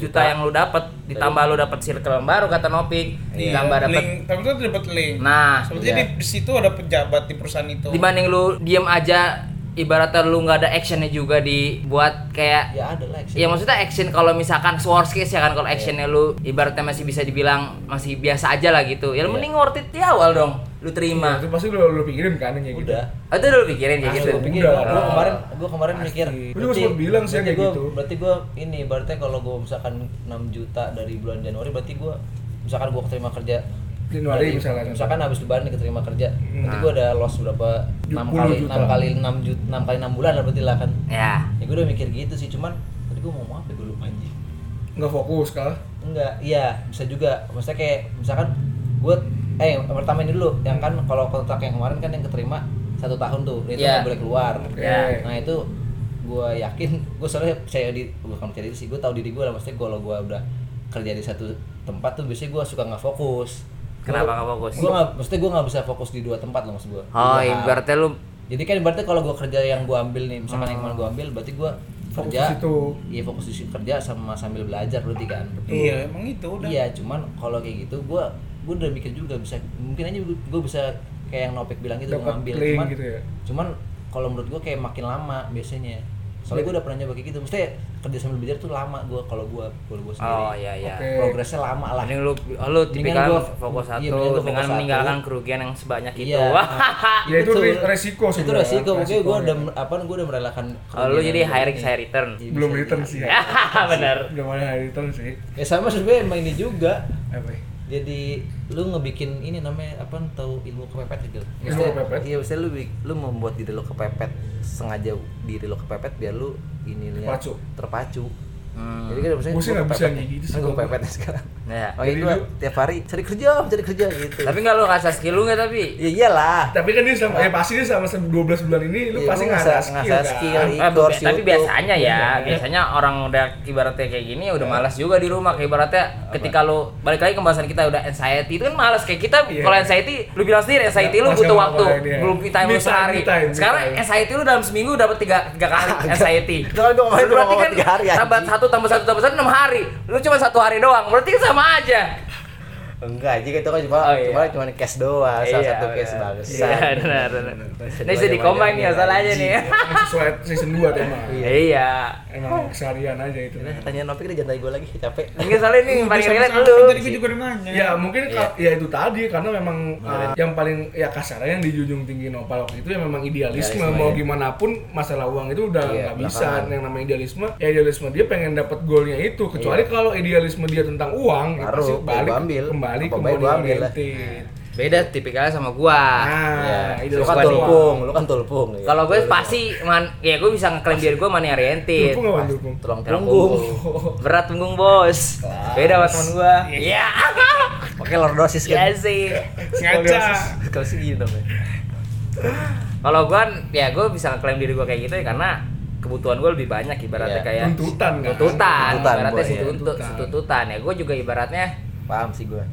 Speaker 1: juta, yang lu dapat ditambah lu dapat circle yang baru kata Nopik, ditambah dapat
Speaker 5: Iya, link, tapi itu dapat link.
Speaker 1: Nah,
Speaker 5: Sebetulnya di, di situ ada pejabat di perusahaan itu.
Speaker 1: dibanding lu diem aja ibaratnya lu nggak ada actionnya juga dibuat kayak
Speaker 4: ya ada lah action.
Speaker 3: Iya,
Speaker 1: Ya maksudnya action kalau misalkan worst case ya kan kalau actionnya lu ibaratnya masih bisa dibilang masih biasa aja lah gitu. Ya lu mending worth it di awal dong. Lu terima.
Speaker 3: itu pasti lu, lu pikirin kan yang kayak gitu
Speaker 4: Nah. udah
Speaker 1: Oh, itu dulu pikirin
Speaker 3: Iya,
Speaker 1: kayak gitu.
Speaker 4: Gue pikir
Speaker 3: Udah.
Speaker 4: gue kemarin gue kemarin mikir.
Speaker 3: Gua juga sempat bilang sih
Speaker 4: berarti
Speaker 3: kayak
Speaker 4: gua,
Speaker 3: gitu.
Speaker 4: Berarti gue ini berarti kalau gue misalkan 6 juta dari bulan Januari berarti gue misalkan gue keterima kerja
Speaker 3: Januari
Speaker 4: dari-
Speaker 3: misalnya.
Speaker 4: Misalkan habis lebaran nih keterima kerja. Berarti
Speaker 1: Nah.
Speaker 4: gue ada loss berapa 6
Speaker 3: 70
Speaker 4: kali
Speaker 3: juta.
Speaker 4: 6 kali 6 juta 6 kali 6 bulan lah berarti lah kan.
Speaker 1: Ya.
Speaker 4: Ya gue udah mikir gitu sih cuman tadi gue mau apa gue lupa anjing.
Speaker 3: nggak fokus kah
Speaker 4: Enggak, iya bisa juga. Maksudnya kayak misalkan gue eh yang pertama ini dulu yang kan kalau kontrak yang kemarin kan yang keterima satu tahun tuh itu
Speaker 1: Iya.
Speaker 4: nggak boleh keluar.
Speaker 1: Ya.
Speaker 4: Nah itu gue yakin *laughs* gue soalnya percaya di bukan percaya diri sih gue tahu diri gue lah maksudnya kalau gue udah kerja di satu tempat tuh biasanya gue suka nggak fokus.
Speaker 1: Kenapa nggak fokus?
Speaker 4: Gue nggak, maksudnya gue nggak bisa fokus di dua tempat loh maksud Iya. gue.
Speaker 1: Oh, ibaratnya lu
Speaker 4: Jadi kan berarti kalau gue kerja yang gue ambil nih, misalkan yang kemarin gue ambil, berarti gue
Speaker 3: Fokus
Speaker 4: kerja,
Speaker 3: itu.
Speaker 4: iya fokus di situ kerja sama sambil belajar berarti kan.
Speaker 5: Iya, emang itu udah.
Speaker 4: Iya, cuman kalau kayak gitu gua gua udah mikir juga bisa mungkin aja gua gua bisa kayak yang Nopek bilang gitu
Speaker 3: Dapat
Speaker 4: ngambil
Speaker 3: link
Speaker 4: cuman
Speaker 3: gitu ya?
Speaker 4: cuman kalau menurut gua kayak makin lama biasanya. Soalnya gua udah pernah nyoba kayak gitu. Mesti kerja sambil belajar tuh lama gua kalau gua kalau gua sendiri.
Speaker 1: Oh, iya iya.
Speaker 3: Oke.
Speaker 4: Progresnya lama lah.
Speaker 1: Mending lu oh, lu tipikal
Speaker 4: gua-
Speaker 1: fokus
Speaker 4: iya,
Speaker 1: satu
Speaker 4: mendingan gua
Speaker 1: dengan
Speaker 4: fokus satu.
Speaker 1: meninggalkan kerugian yang sebanyak itu. *laughs*
Speaker 4: Iya.
Speaker 3: Ya, itu
Speaker 4: Betul.
Speaker 3: resiko
Speaker 4: Itu
Speaker 3: sebenarnya,
Speaker 4: resiko. Mungkin gua
Speaker 3: resikonya.
Speaker 4: udah apa gua udah merelakan
Speaker 1: Oh, lu
Speaker 4: kerugian
Speaker 1: jadi
Speaker 4: gua
Speaker 1: hiring
Speaker 4: ini.
Speaker 1: saya return.
Speaker 4: Iya,
Speaker 3: belum
Speaker 4: bisa
Speaker 3: return
Speaker 4: jadi. *laughs*
Speaker 3: sih
Speaker 1: *laughs*
Speaker 3: ya
Speaker 1: Bener.
Speaker 3: belum ada hari return sih
Speaker 4: Ya sama sebenarnya emang ini juga.
Speaker 3: apa ya?
Speaker 4: jadi lu ngebikin ini namanya apa tahu ilmu kepepet gitu
Speaker 3: Ilmu kepepet?
Speaker 4: iya maksudnya lu bi- lu membuat diri lu kepepet sengaja diri lu kepepet biar lu ininya
Speaker 3: Terpacu.
Speaker 4: terpacu
Speaker 1: Hmm.
Speaker 4: jadi kan misalnya
Speaker 3: Gua sih nggak bisa kayak gitu sih
Speaker 4: gue
Speaker 3: kalau
Speaker 4: kepepet sekarang
Speaker 1: Ya.
Speaker 4: makanya
Speaker 3: Jadi
Speaker 4: gue
Speaker 3: lu-
Speaker 4: tiap hari cari kerja cari kerja gitu
Speaker 1: Tapi nggak lu ngerasa skill lu nggak tapi?
Speaker 4: ya iyalah
Speaker 3: tapi kan dia sama eh pasti dia sama sama 12 bulan ini lu
Speaker 4: Iya,
Speaker 3: pasti
Speaker 4: lu
Speaker 3: nggak
Speaker 4: ngasah-
Speaker 3: ada skill
Speaker 4: ngasah
Speaker 3: kan
Speaker 4: skill.
Speaker 1: Eh,
Speaker 4: Ikut,
Speaker 1: bu- tapi
Speaker 4: YouTube.
Speaker 1: biasanya ya,
Speaker 4: iya.
Speaker 1: biasanya orang udah ibaratnya kayak gini udah malas juga di rumah kayak ibaratnya ketika lu balik lagi ke pembahasan kita udah anxiety itu kan malas kayak kita
Speaker 3: Iya.
Speaker 1: kalau anxiety lu bilang sendiri
Speaker 4: Iya.
Speaker 1: anxiety lu butuh
Speaker 3: Masih ngomong
Speaker 1: waktu
Speaker 3: ngomongin dia.
Speaker 1: belum time
Speaker 3: Me
Speaker 1: lu
Speaker 3: time,
Speaker 1: sehari
Speaker 3: me time, me
Speaker 1: sekarang
Speaker 3: time.
Speaker 1: anxiety lu dalam seminggu dapat tiga tiga kali anxiety
Speaker 4: Jangan gua ngomongin
Speaker 1: berarti
Speaker 4: ngomong
Speaker 1: kan
Speaker 4: tiga hari, anjing.
Speaker 1: tambah satu tambah satu tambah satu enam hari lu cuma satu hari doang berarti kan sama aja
Speaker 4: enggak jika itu kan cuma
Speaker 1: Oh, iya.
Speaker 4: cuma cuma cash doang salah
Speaker 1: Iya,
Speaker 4: satu cash
Speaker 1: benar.
Speaker 4: bagus
Speaker 1: iya benar benar ini bisa dikombin nih masalahnya nih ya.
Speaker 3: sesuai season 2 tema
Speaker 1: iya
Speaker 3: emang keseharian aja itu
Speaker 4: Oh. Iya, tanya Nopik deh jangan tanya gue lagi *laughs* capek
Speaker 1: mungkin soalnya ini kan- yang
Speaker 5: Udah
Speaker 1: paling
Speaker 5: sama
Speaker 1: relate
Speaker 5: sekarang,
Speaker 1: lu
Speaker 5: kan Tadi gue juga udah nanya.
Speaker 3: Ya mungkin
Speaker 4: Iya.
Speaker 3: ka- ya itu tadi karena memang uh, yang paling ya kasarnya yang dijunjung tinggi Nopal waktu itu ya memang idealisme
Speaker 4: Idealisme,
Speaker 3: mau
Speaker 4: ya.
Speaker 3: gimana pun masalah uang itu udah
Speaker 4: Iya,
Speaker 3: nggak bisa
Speaker 4: belakangan.
Speaker 3: yang namanya idealisme ya idealisme dia pengen dapat golnya itu kecuali kalau idealisme dia tentang uang ya
Speaker 4: Iya. Baru,
Speaker 3: pasti
Speaker 4: gua
Speaker 3: balik
Speaker 4: ambil.
Speaker 3: kembali
Speaker 4: Apa
Speaker 3: ke
Speaker 4: baik gua
Speaker 3: money
Speaker 4: ambil lah. Iya.
Speaker 3: oriented.
Speaker 1: beda tipikalnya sama gua
Speaker 3: Nah,
Speaker 1: Ah,
Speaker 4: lu
Speaker 3: idealisme
Speaker 4: kan
Speaker 3: doang.
Speaker 4: tulpung lu kan tulpung ya.
Speaker 1: Kalau gue pasti man, ya gue bisa ngeklaim diri gue money
Speaker 4: Iya.
Speaker 1: oriented.
Speaker 3: Dukung apa dukung?
Speaker 4: tulang
Speaker 1: Punggung.
Speaker 4: punggung
Speaker 1: Berat punggung bos. Beda sama temen gue. Iya.
Speaker 4: pakai lordosis
Speaker 1: Iya
Speaker 4: kan
Speaker 1: sih.
Speaker 5: Sengaja.
Speaker 4: kalau sih gitu namanya
Speaker 1: Kalau gue, ya gue bisa ngeklaim diri gue kayak gitu ya karena kebutuhan gue lebih banyak ibaratnya
Speaker 4: Iya.
Speaker 1: kayak
Speaker 3: Tuntutan kan?
Speaker 1: tuntutan,
Speaker 4: Tuntutan,
Speaker 1: ibaratnya
Speaker 4: Boy,
Speaker 1: si
Speaker 4: ya.
Speaker 1: tuntut, si tuntutan ya. Gue juga ibaratnya
Speaker 4: paham sih gue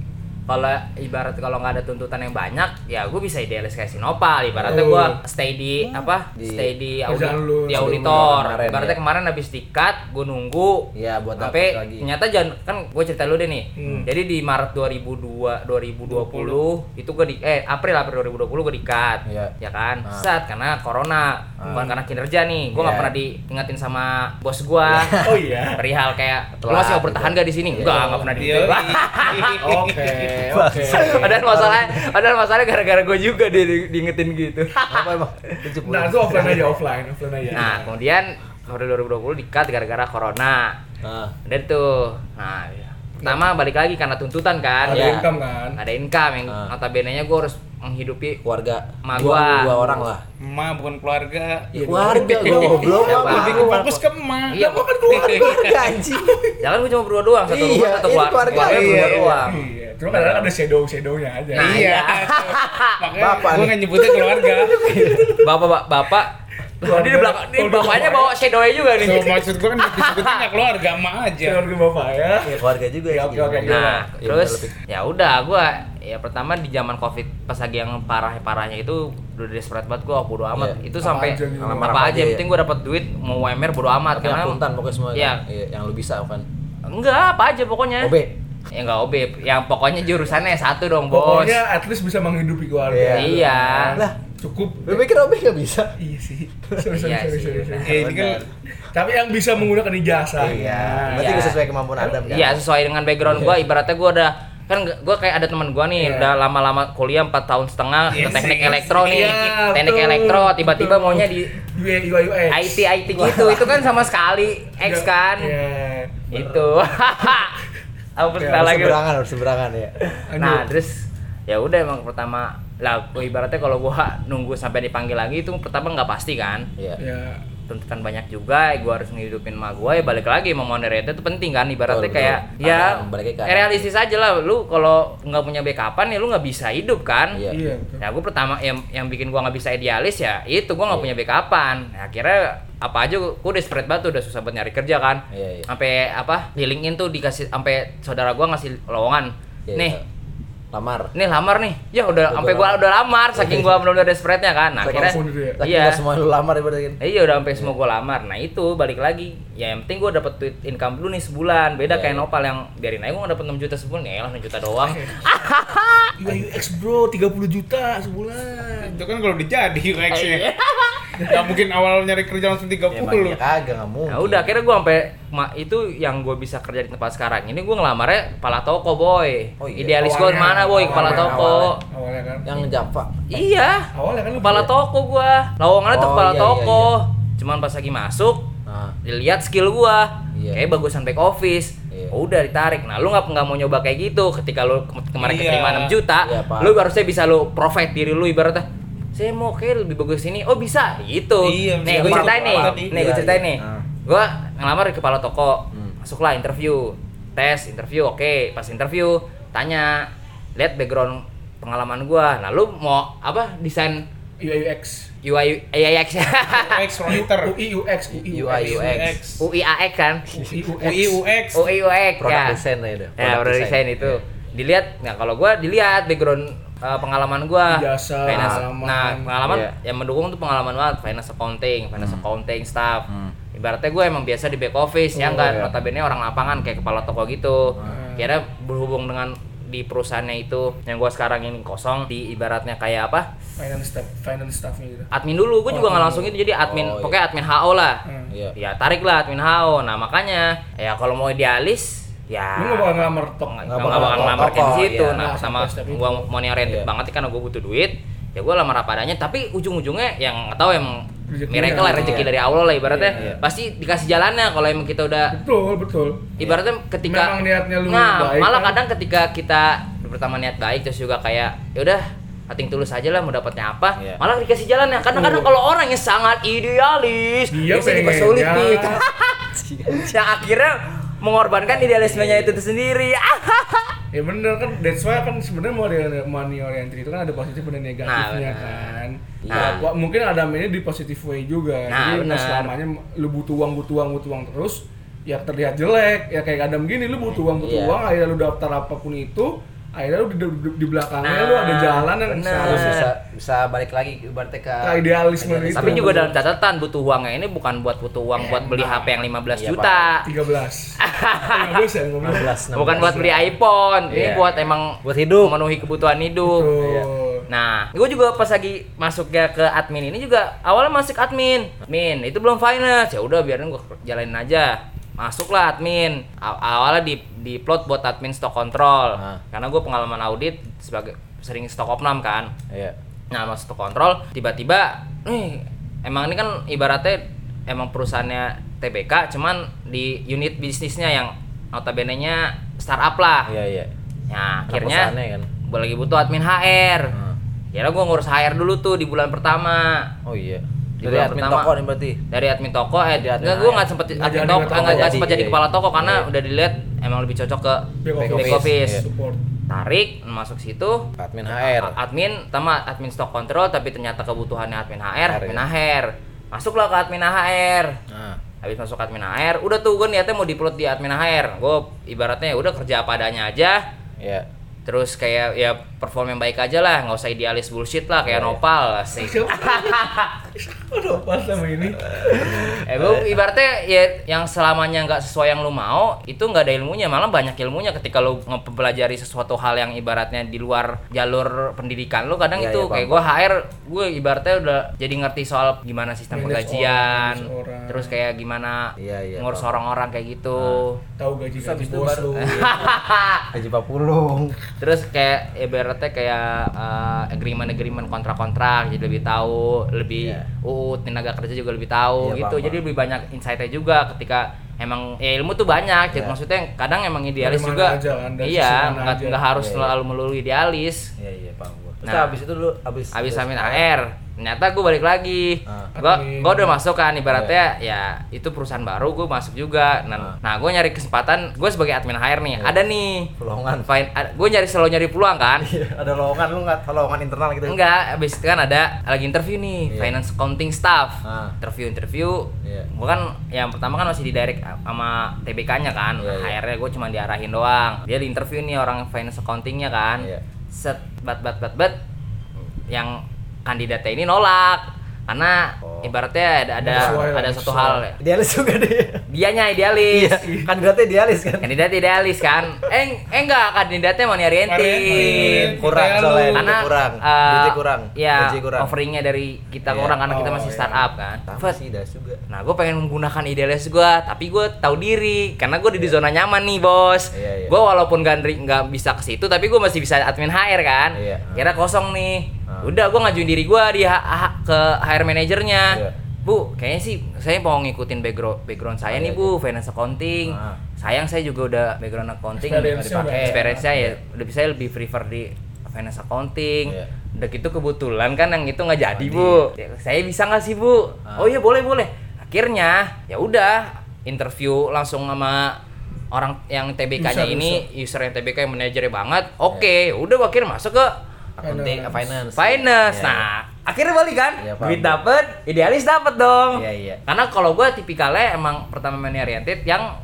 Speaker 1: kalau ibarat kalau nggak ada tuntutan yang banyak ya gue bisa idealis kayak Sinopal ibaratnya gue stay di apa
Speaker 4: Di-
Speaker 1: stay di, audit-
Speaker 3: Kerjaan lu
Speaker 1: di
Speaker 4: sebelum
Speaker 1: auditor
Speaker 4: kemarin,
Speaker 1: ibaratnya
Speaker 4: ya.
Speaker 1: kemarin habis tiket gue nunggu
Speaker 4: Iya, buat
Speaker 1: sampai
Speaker 4: dapet lagi. Hmm.
Speaker 1: ternyata jangan kan gue cerita lu deh nih jadi di Maret 2002 2020 itu gue di eh April April 2020 gue dikat
Speaker 4: Iya.
Speaker 1: ya kan
Speaker 4: Ah.
Speaker 1: set karena corona bukan karena kinerja nih gue nggak
Speaker 4: Iya.
Speaker 1: pernah diingetin sama bos gue
Speaker 3: Oh iya.
Speaker 1: perihal kayak lo
Speaker 4: Telat, gitu."
Speaker 1: masih mau bertahan gak di sini enggak nggak pernah
Speaker 5: Iya.
Speaker 1: diingetin
Speaker 5: *laughs*
Speaker 3: *laughs*
Speaker 4: *laughs*
Speaker 3: Oke, oke.
Speaker 1: Padahal masalahnya, padahal masalahnya gara-gara gue juga dia di- diingetin gitu.
Speaker 4: apa emang lucu
Speaker 3: Nah, itu offline aja offline, offline aja.
Speaker 1: Nah, kemudian Februari 2020 dikat gara-gara corona.
Speaker 4: nah
Speaker 1: Udah tuh. Nah, pertama balik lagi karena tuntutan kan.
Speaker 3: ada
Speaker 4: Iya.
Speaker 3: income kan?
Speaker 1: Ada income yang
Speaker 4: Ah.
Speaker 1: notabene-nya gue harus menghidupi
Speaker 4: keluarga
Speaker 1: Emak
Speaker 4: dua,
Speaker 1: gua.
Speaker 4: dua orang lah
Speaker 5: Emak bukan keluarga.
Speaker 3: Iya,
Speaker 4: keluarga gue goblok
Speaker 1: Iya,
Speaker 4: apa
Speaker 5: Lebih ke fokus ke kan emak.
Speaker 1: Iya,
Speaker 5: Lah,
Speaker 1: bukan *laughs*
Speaker 4: *laughs* keluarga anjing
Speaker 1: Jangan gue cuma berdua doang, Iya, satu rumah,
Speaker 4: Iya,
Speaker 1: satu
Speaker 4: ini
Speaker 1: keluarga.
Speaker 4: keluarga.
Speaker 1: Keluarga berdua
Speaker 4: Iya, iya.
Speaker 1: doang.
Speaker 3: Iya, cuma kadang ada shadow-shadownya aja.
Speaker 1: Nah,
Speaker 5: Iya.
Speaker 1: iya.
Speaker 5: Makanya
Speaker 4: Bapak nih.
Speaker 5: gue
Speaker 4: Iya.
Speaker 5: nggak nyebutnya
Speaker 4: *laughs*
Speaker 5: keluarga.
Speaker 1: Bapak, bapak, bapak.
Speaker 3: Keluarga.
Speaker 1: Dia di belakang, dia
Speaker 3: Oh, di
Speaker 1: bapaknya
Speaker 3: bawah.
Speaker 1: bawa shadow-nya juga nih.
Speaker 5: So, maksud gue kan disebutnya nggak keluarga emak
Speaker 1: iya.
Speaker 5: aja.
Speaker 4: Iya.
Speaker 3: Keluarga bapak ya.
Speaker 4: ya keluarga juga
Speaker 3: Iya,
Speaker 4: ya
Speaker 3: oke, oke.
Speaker 1: Nah,
Speaker 4: Iya,
Speaker 1: terus
Speaker 4: bener,
Speaker 1: ya udah gua ya pertama di zaman Covid pas lagi yang parah-parahnya itu udah desperate banget gua oh, bodo amat.
Speaker 4: Iya,
Speaker 1: Itu
Speaker 3: apa
Speaker 1: sampai
Speaker 3: aja gitu.
Speaker 1: apa,
Speaker 4: Apa
Speaker 1: aja
Speaker 4: aja,
Speaker 1: yang
Speaker 4: iya.
Speaker 1: penting gua dapat duit mau UMR bodo amat
Speaker 4: tapi
Speaker 1: karena
Speaker 4: akuntan pokoknya semua kan?
Speaker 1: Iya.
Speaker 4: Iya, yang lu bisa kan
Speaker 1: enggak apa aja pokoknya.
Speaker 4: OB
Speaker 1: Ya enggak OB, yang pokoknya jurusannya satu dong, Bos.
Speaker 3: Pokoknya at least bisa menghidupi keluarga.
Speaker 4: Iya.
Speaker 1: Iya.
Speaker 4: lah
Speaker 3: cukup
Speaker 4: Lu pikir Robby nggak bisa?
Speaker 3: iya sih sorry sorry
Speaker 1: Iya
Speaker 3: sorry,
Speaker 1: sih,
Speaker 3: sorry, sorry.
Speaker 1: benar,
Speaker 3: Eh, ini kan
Speaker 1: benar.
Speaker 3: tapi yang bisa menggunakan ijazah
Speaker 4: Iya. Berarti
Speaker 1: Iya.
Speaker 4: nggak sesuai kemampuan Adam kan?
Speaker 1: Iya sesuai dengan background gua ibaratnya gua udah kan gue kayak ada teman gua nih
Speaker 3: Iya.
Speaker 1: udah lama-lama kuliah 4 tahun setengah ke
Speaker 5: Iya
Speaker 1: teknik
Speaker 5: sih,
Speaker 1: elektro nih
Speaker 3: Iya,
Speaker 1: teknik
Speaker 3: betul,
Speaker 1: elektro tiba-tiba
Speaker 3: betul. Eh,
Speaker 1: maunya di
Speaker 3: UI UX
Speaker 1: IT IT gitu itu kan sama sekali X kan
Speaker 3: Iya.
Speaker 1: *laughs* itu aku
Speaker 3: Iya,
Speaker 1: cerita
Speaker 4: Harus
Speaker 1: lagi
Speaker 4: seberangan, harus seberangan ya.
Speaker 1: gitu? nah
Speaker 3: Lanjut.
Speaker 1: terus ya udah emang pertama lah gua ibaratnya kalau gua nunggu sampai dipanggil lagi itu pertama nggak pasti kan
Speaker 4: Iya.
Speaker 3: ya
Speaker 1: tuntutan banyak juga gua harus ngehidupin emak gua ya balik lagi mau moderate itu penting kan ibaratnya
Speaker 4: Betul, betul.
Speaker 1: kayak ya
Speaker 4: Kadang, balik lagi kadang.
Speaker 1: realistis aja lah lu kalau nggak punya backupan ya lu nggak bisa hidup kan
Speaker 4: Iya.
Speaker 3: iya betul.
Speaker 1: ya gue pertama yang yang bikin gua nggak bisa idealis ya itu gua nggak
Speaker 4: Iya.
Speaker 1: punya backupan Nah, akhirnya apa aja gue desperate banget tuh, udah susah buat nyari kerja kan
Speaker 4: Iya, iya.
Speaker 1: sampai apa di LinkedIn tuh dikasih sampai saudara gua ngasih lowongan
Speaker 4: Iya,
Speaker 1: nih
Speaker 4: iya. Lamar.
Speaker 1: nih lamar nih ya udah
Speaker 4: Udah
Speaker 1: sampai
Speaker 4: lamar.
Speaker 1: gua udah lamar saking
Speaker 4: *laughs*
Speaker 1: gua benar-benar desperate-nya kan Nah,
Speaker 4: Saking ya.
Speaker 1: akhirnya
Speaker 3: full dia.
Speaker 4: Lagi
Speaker 1: iya
Speaker 4: nggak semua lu lamar ya berarti kan?
Speaker 1: Eh, Iya udah sampai semua gue lamar. Nah itu balik lagi. Ya yang penting gue dapet tweet income dulu nih sebulan. Beda
Speaker 4: Iya,
Speaker 1: kayak
Speaker 4: iya.
Speaker 1: Nopal yang biarin aja gue dapet 6 juta sebulan. Ya elah 6 juta
Speaker 4: *laughs*
Speaker 1: doang.
Speaker 3: UI UX bro 30 juta sebulan
Speaker 5: Itu kan kalau udah jadi
Speaker 4: Oh,
Speaker 1: Iya.
Speaker 5: UX-nya. Nggak mungkin awal nyari kerja langsung 30
Speaker 4: Ya emang
Speaker 5: lu.
Speaker 4: ya kagak nggak mungkin.
Speaker 1: Nah udah akhirnya gue sampai ma- itu yang gue bisa kerja di tempat sekarang. Ini gue ngelamarnya kepala toko boy.
Speaker 4: Oh, iya.
Speaker 1: Idealis gue
Speaker 3: Awalnya,
Speaker 1: mana boy kepala
Speaker 3: awalnya,
Speaker 1: toko.
Speaker 3: awalnya kan
Speaker 4: Yang Java.
Speaker 1: Iya.
Speaker 3: awalnya kan lu
Speaker 1: Kepala toko gue. Lowongannya tuh
Speaker 4: Oh,
Speaker 1: kepala
Speaker 4: iya, iya,
Speaker 1: toko. Cuman pas lagi masuk
Speaker 4: Nah,
Speaker 1: dilihat skill gua
Speaker 4: Iya.
Speaker 1: kayak bagusan back office
Speaker 4: Iya.
Speaker 1: udah ditarik nah lu nggak nggak mau nyoba kayak gitu ketika lu ke- kemarin
Speaker 5: Iya.
Speaker 1: keterima 6 juta
Speaker 4: Iya, paham.
Speaker 1: lu harusnya bisa lu provide diri lu ibaratnya saya mau kayak lebih bagus ini oh bisa gitu nih
Speaker 5: Iya, bisa.
Speaker 1: gue
Speaker 5: Paham,
Speaker 1: ceritain nih
Speaker 5: paham.
Speaker 1: nih gue
Speaker 4: Iya,
Speaker 1: ceritain
Speaker 4: iya.
Speaker 1: nih
Speaker 4: Ah.
Speaker 1: gua ngelamar di kepala toko
Speaker 4: Hmm.
Speaker 1: masuklah interview tes interview oke pas interview tanya lihat background pengalaman gua nah lu mau apa desain
Speaker 3: UI UX
Speaker 1: UI AIX *laughs*
Speaker 4: iya.
Speaker 5: UX writer.
Speaker 3: UI UX
Speaker 4: UI UX.
Speaker 1: UIAX kan
Speaker 5: UI UX.
Speaker 1: UI UX
Speaker 4: Product
Speaker 1: ya
Speaker 4: design aja deh.
Speaker 1: Ya, product design itu. Dilihat nah kalau gua dilihat background uh, pengalaman gua.
Speaker 3: Ijazah,
Speaker 1: Finance-
Speaker 3: pengalaman.
Speaker 1: Nah, pengalaman
Speaker 4: Iya.
Speaker 1: yang mendukung tuh pengalaman banget finance accounting, finance accounting staff.
Speaker 4: Hmm.
Speaker 1: Ibaratnya gue emang biasa di back office ya
Speaker 4: Oh,
Speaker 1: enggak
Speaker 4: iya. Hmm.
Speaker 1: notabene orang lapangan kayak kepala toko gitu. Kira berhubung dengan di perusahaannya itu yang gua sekarang ini kosong di ibaratnya kayak apa?
Speaker 3: finance staff finance staffnya gitu
Speaker 1: Admin dulu, gue juga nggak langsung itu jadi admin,
Speaker 4: Oh, iya.
Speaker 1: pokoknya admin HO lah.
Speaker 3: Hmm.
Speaker 4: Iya.
Speaker 1: Ya tarik lah admin HO. Nah, makanya ya kalau mau idealis ya
Speaker 3: lu nggak bakal ngelamar tok
Speaker 1: nggak
Speaker 4: bakal
Speaker 1: bakal bakal
Speaker 4: ngelamar
Speaker 1: ngelamar kayak di
Speaker 4: toko,
Speaker 1: situ
Speaker 4: iya.
Speaker 1: nah
Speaker 3: Nah,
Speaker 1: sama
Speaker 3: step-by-step itu.
Speaker 1: gua money oriented
Speaker 4: Iya.
Speaker 1: banget karena gua butuh duit ya gua lamar apa adanya tapi ujung-ujungnya yang nggak tahu emang
Speaker 3: Rezeki
Speaker 1: miracle lah
Speaker 3: dari
Speaker 1: rezeki
Speaker 4: Allah.
Speaker 1: dari Allah lah ibaratnya
Speaker 4: Iya, iya.
Speaker 1: pasti dikasih jalannya kalau emang kita udah
Speaker 3: betul betul
Speaker 1: ibaratnya ketika
Speaker 3: Iya. Memang niatnya lu
Speaker 1: nah
Speaker 3: baik,
Speaker 1: malah
Speaker 3: kan?
Speaker 1: kadang ketika kita pertama niat baik terus juga kayak yaudah ating tulus aja lah mau dapatnya apa
Speaker 4: Iya.
Speaker 1: malah dikasih jalannya kadang-kadang
Speaker 3: Betul.
Speaker 1: kalau orang yang sangat idealis biasanya
Speaker 3: Dia pengennya-
Speaker 1: dipersulit Pit. *laughs* yang akhirnya mengorbankan idealismenya itu Ah, sendiri
Speaker 3: ya bener kan that's why kan sebenarnya mau dari money oriented itu kan ada positif dan negatifnya
Speaker 1: Nah, benar.
Speaker 3: kan
Speaker 1: Nah.
Speaker 3: Wah, mungkin Adam ini di positive way juga
Speaker 1: Nah,
Speaker 3: jadi
Speaker 1: benar.
Speaker 3: nggak selamanya lu butuh uang butuh uang butuh uang terus ya terlihat jelek ya kayak Adam gini lu butuh uang butuh
Speaker 4: Iya.
Speaker 3: uang akhirnya lu daftar apapun itu akhirnya lu di, di, di belakangnya
Speaker 1: Nah,
Speaker 3: lu ada jalan yang
Speaker 1: benar.
Speaker 4: Harus
Speaker 3: seharusnya
Speaker 4: bisa bisa balik lagi ibaratnya ke
Speaker 3: Ke idealisme
Speaker 4: Gitu
Speaker 3: itu.
Speaker 1: Tapi juga dalam catatan butuh uangnya ini bukan buat butuh uang buat beli HP yang 15
Speaker 4: Eh, Iya,
Speaker 1: juta.
Speaker 3: 13 15 ya
Speaker 1: *laughs* Iya.
Speaker 3: 15
Speaker 4: 16
Speaker 1: Bukan buat beli iPhone. Ini
Speaker 4: Iya.
Speaker 1: buat emang
Speaker 4: Buat hidup.
Speaker 1: memenuhi kebutuhan hidup.
Speaker 3: Betul.
Speaker 1: Nah, gue juga pas lagi masuknya ke admin ini juga awalnya masuk admin. Min, itu belum finance. Ya udah biarin gue jalanin aja. Masuklah admin. Aw- Awalnya di di plot buat admin stock control.
Speaker 4: Ah.
Speaker 1: Karena gue pengalaman audit sebagai sering stock opnam kan.
Speaker 4: Iya.
Speaker 1: Nah, masuk ke kontrol, tiba-tiba nih emang ini kan ibaratnya emang perusahaannya TBK cuman di unit bisnisnya yang notabene-nya startup lah.
Speaker 4: Iya, iya.
Speaker 1: Nah,
Speaker 4: Anak
Speaker 1: Ah. akhirnya
Speaker 4: perusahaannya kan.
Speaker 1: gua lagi butuh admin HR.
Speaker 4: Hmm.
Speaker 1: Kira gua ngurus HR dulu tuh di bulan pertama.
Speaker 4: Oh iya.
Speaker 1: Di
Speaker 4: Dari
Speaker 1: bulan
Speaker 4: admin
Speaker 1: pertama.
Speaker 4: toko nih berarti.
Speaker 1: Dari admin toko eh
Speaker 4: Jadi admin
Speaker 1: enggak gua
Speaker 4: HR.
Speaker 1: nggak sempet
Speaker 3: Nggak
Speaker 1: admin
Speaker 3: jadi
Speaker 1: toko,
Speaker 3: toko.
Speaker 1: enggak
Speaker 4: Nggak
Speaker 1: sempat
Speaker 4: jadi,
Speaker 1: jadi
Speaker 4: iya.
Speaker 1: kepala toko karena
Speaker 4: Iya.
Speaker 1: udah dilihat emang lebih cocok ke
Speaker 3: Back
Speaker 1: back
Speaker 3: office.
Speaker 1: office.
Speaker 3: support
Speaker 1: Tarik masuk situ,
Speaker 4: Admin HR.
Speaker 1: A- admin sama admin stock control tapi ternyata kebutuhannya admin HR,
Speaker 4: HR,
Speaker 1: admin
Speaker 4: ya.
Speaker 1: HR. Masuklah ke admin HR.
Speaker 4: Nah,
Speaker 1: Habis masuk admin HR, udah tuh gue niatnya mau diplot di admin HR. Gue ibaratnya ya udah kerja apa adanya aja.
Speaker 4: iya.
Speaker 1: Terus kayak ya perform yang baik aja lah nggak usah idealis bullshit lah kayak nopal sih
Speaker 3: Aduh, pas sama ini.
Speaker 1: eh bu ibaratnya ya yang selamanya nggak sesuai yang lu mau itu nggak ada ilmunya malah banyak ilmunya ketika lu mempelajari sesuatu hal yang ibaratnya di luar jalur pendidikan lu kadang
Speaker 4: Iya,
Speaker 1: itu
Speaker 4: iya, paham,
Speaker 1: kayak gue HR gue ibaratnya udah jadi ngerti soal gimana sistem
Speaker 3: Manage
Speaker 1: penggajian
Speaker 3: orang, manage orang.
Speaker 1: terus kayak gimana
Speaker 4: Iya, iya,
Speaker 1: ngurus
Speaker 4: paham. Nah.
Speaker 1: orang-orang kayak gitu
Speaker 3: Tahu gaji gaji
Speaker 4: Habis itu
Speaker 3: bos lu.
Speaker 4: baru- Haji Papulung.
Speaker 1: Terus kayak ibaratnya kayak eh, agreement-agreement kontrak-kontrak jadi lebih tahu, lebih
Speaker 4: Iya.
Speaker 1: UU tenaga kerja juga lebih tahu
Speaker 4: Iya,
Speaker 1: gitu.
Speaker 4: paham,
Speaker 1: jadi
Speaker 4: paham.
Speaker 1: lebih banyak insight-nya juga ketika emang ya ilmu tuh banyak. Jadi
Speaker 4: Iya.
Speaker 1: maksudnya kadang emang idealis
Speaker 3: Dari mana
Speaker 1: juga.
Speaker 3: aja kan, dari
Speaker 1: iya,
Speaker 3: sisi mana
Speaker 1: nggak
Speaker 3: aja.
Speaker 1: nggak harus
Speaker 4: Iya, iya.
Speaker 1: selalu melulu idealis.
Speaker 4: Iya iya paham gua. Terus
Speaker 1: Nah.
Speaker 4: habis itu lu habis
Speaker 1: Abis amin AR, ternyata gue balik lagi.
Speaker 4: Ah.
Speaker 1: Gua
Speaker 3: Admin.
Speaker 1: gue udah masuk kan ibaratnya ya itu perusahaan baru gue masuk juga. Nah, nah gue nyari kesempatan gue sebagai admin HR nih. Ada nih.
Speaker 4: Peluangan.
Speaker 1: gue nyari selalu nyari peluang kan.
Speaker 4: Iya, ada lowongan lu nggak ada lowongan internal gitu.
Speaker 1: Enggak, abis itu kan ada lagi interview nih,
Speaker 4: Iya.
Speaker 1: finance accounting staff.
Speaker 4: Ah.
Speaker 1: Interview interview.
Speaker 4: Iya.
Speaker 1: Gua kan yang pertama kan masih di direct sama TBK-nya kan.
Speaker 4: Iya, iya.
Speaker 1: HR-nya gue cuma diarahin doang. Dia di interview nih orang finance accounting-nya kan.
Speaker 4: Iya.
Speaker 1: Set bat bat bat bat yang kandidatnya ini nolak karena
Speaker 4: Oh.
Speaker 1: ibaratnya ada ada,
Speaker 3: Sesuai lah,
Speaker 1: ada satu
Speaker 3: sesuai.
Speaker 1: hal ya.
Speaker 4: Idealis juga dia.
Speaker 1: dianya idealis
Speaker 4: Iya, Kandidatnya idealis kan.
Speaker 1: kandidat idealis kan eh, eh enggak kandidatnya mau
Speaker 5: Orientin.
Speaker 1: orientin
Speaker 4: Kurang
Speaker 5: Idealis.
Speaker 4: soalnya duitnya
Speaker 1: karena
Speaker 4: kurang,
Speaker 1: eh,
Speaker 4: duitnya kurang,
Speaker 1: ya
Speaker 4: gaji kurang.
Speaker 1: offeringnya dari kita
Speaker 4: Iya.
Speaker 1: kurang karena kita
Speaker 3: Oh,
Speaker 1: masih
Speaker 3: iya.
Speaker 1: startup kan
Speaker 4: Sama
Speaker 1: First,
Speaker 4: sih idealis juga.
Speaker 1: nah gue pengen menggunakan idealis gue tapi gue tahu diri karena gue di zona nyaman nih bos
Speaker 4: Iya, iya.
Speaker 1: gue walaupun gak neri- nggak bisa ke situ tapi gue masih bisa admin HR kan
Speaker 4: Iya.
Speaker 1: kira kosong nih
Speaker 4: Ah.
Speaker 1: udah gue ngajuin diri gue di H- H- ke HR manajernya
Speaker 4: Iya.
Speaker 1: Bu, kayaknya sih saya mau ngikutin background background saya nih
Speaker 4: Iya,
Speaker 1: Bu, finance accounting.
Speaker 4: Ah.
Speaker 1: Sayang saya juga udah background accounting
Speaker 3: Experience-nya
Speaker 1: nggak dipakai.
Speaker 3: udah-
Speaker 1: Experience saya ya lebih saya lebih prefer di finance accounting.
Speaker 4: Iya.
Speaker 1: Udah gitu kebetulan kan yang itu nggak jadi bu. Ya, Saya bisa nggak sih bu?
Speaker 4: Ah.
Speaker 1: Oh iya boleh boleh. Akhirnya ya udah interview langsung sama orang yang TBK-nya
Speaker 3: User,
Speaker 1: ini user. yang TBK yang manajernya banget. Oke, ya udah akhirnya masuk ke
Speaker 4: Accounting, eh, Ya. finance.
Speaker 1: finance.
Speaker 4: Iya.
Speaker 1: Nah akhirnya balik kan,
Speaker 4: Iya, paham.
Speaker 1: duit dapet, idealis dapet dong.
Speaker 4: Iya, iya.
Speaker 1: Karena kalau gue tipikalnya emang pertama main oriented yang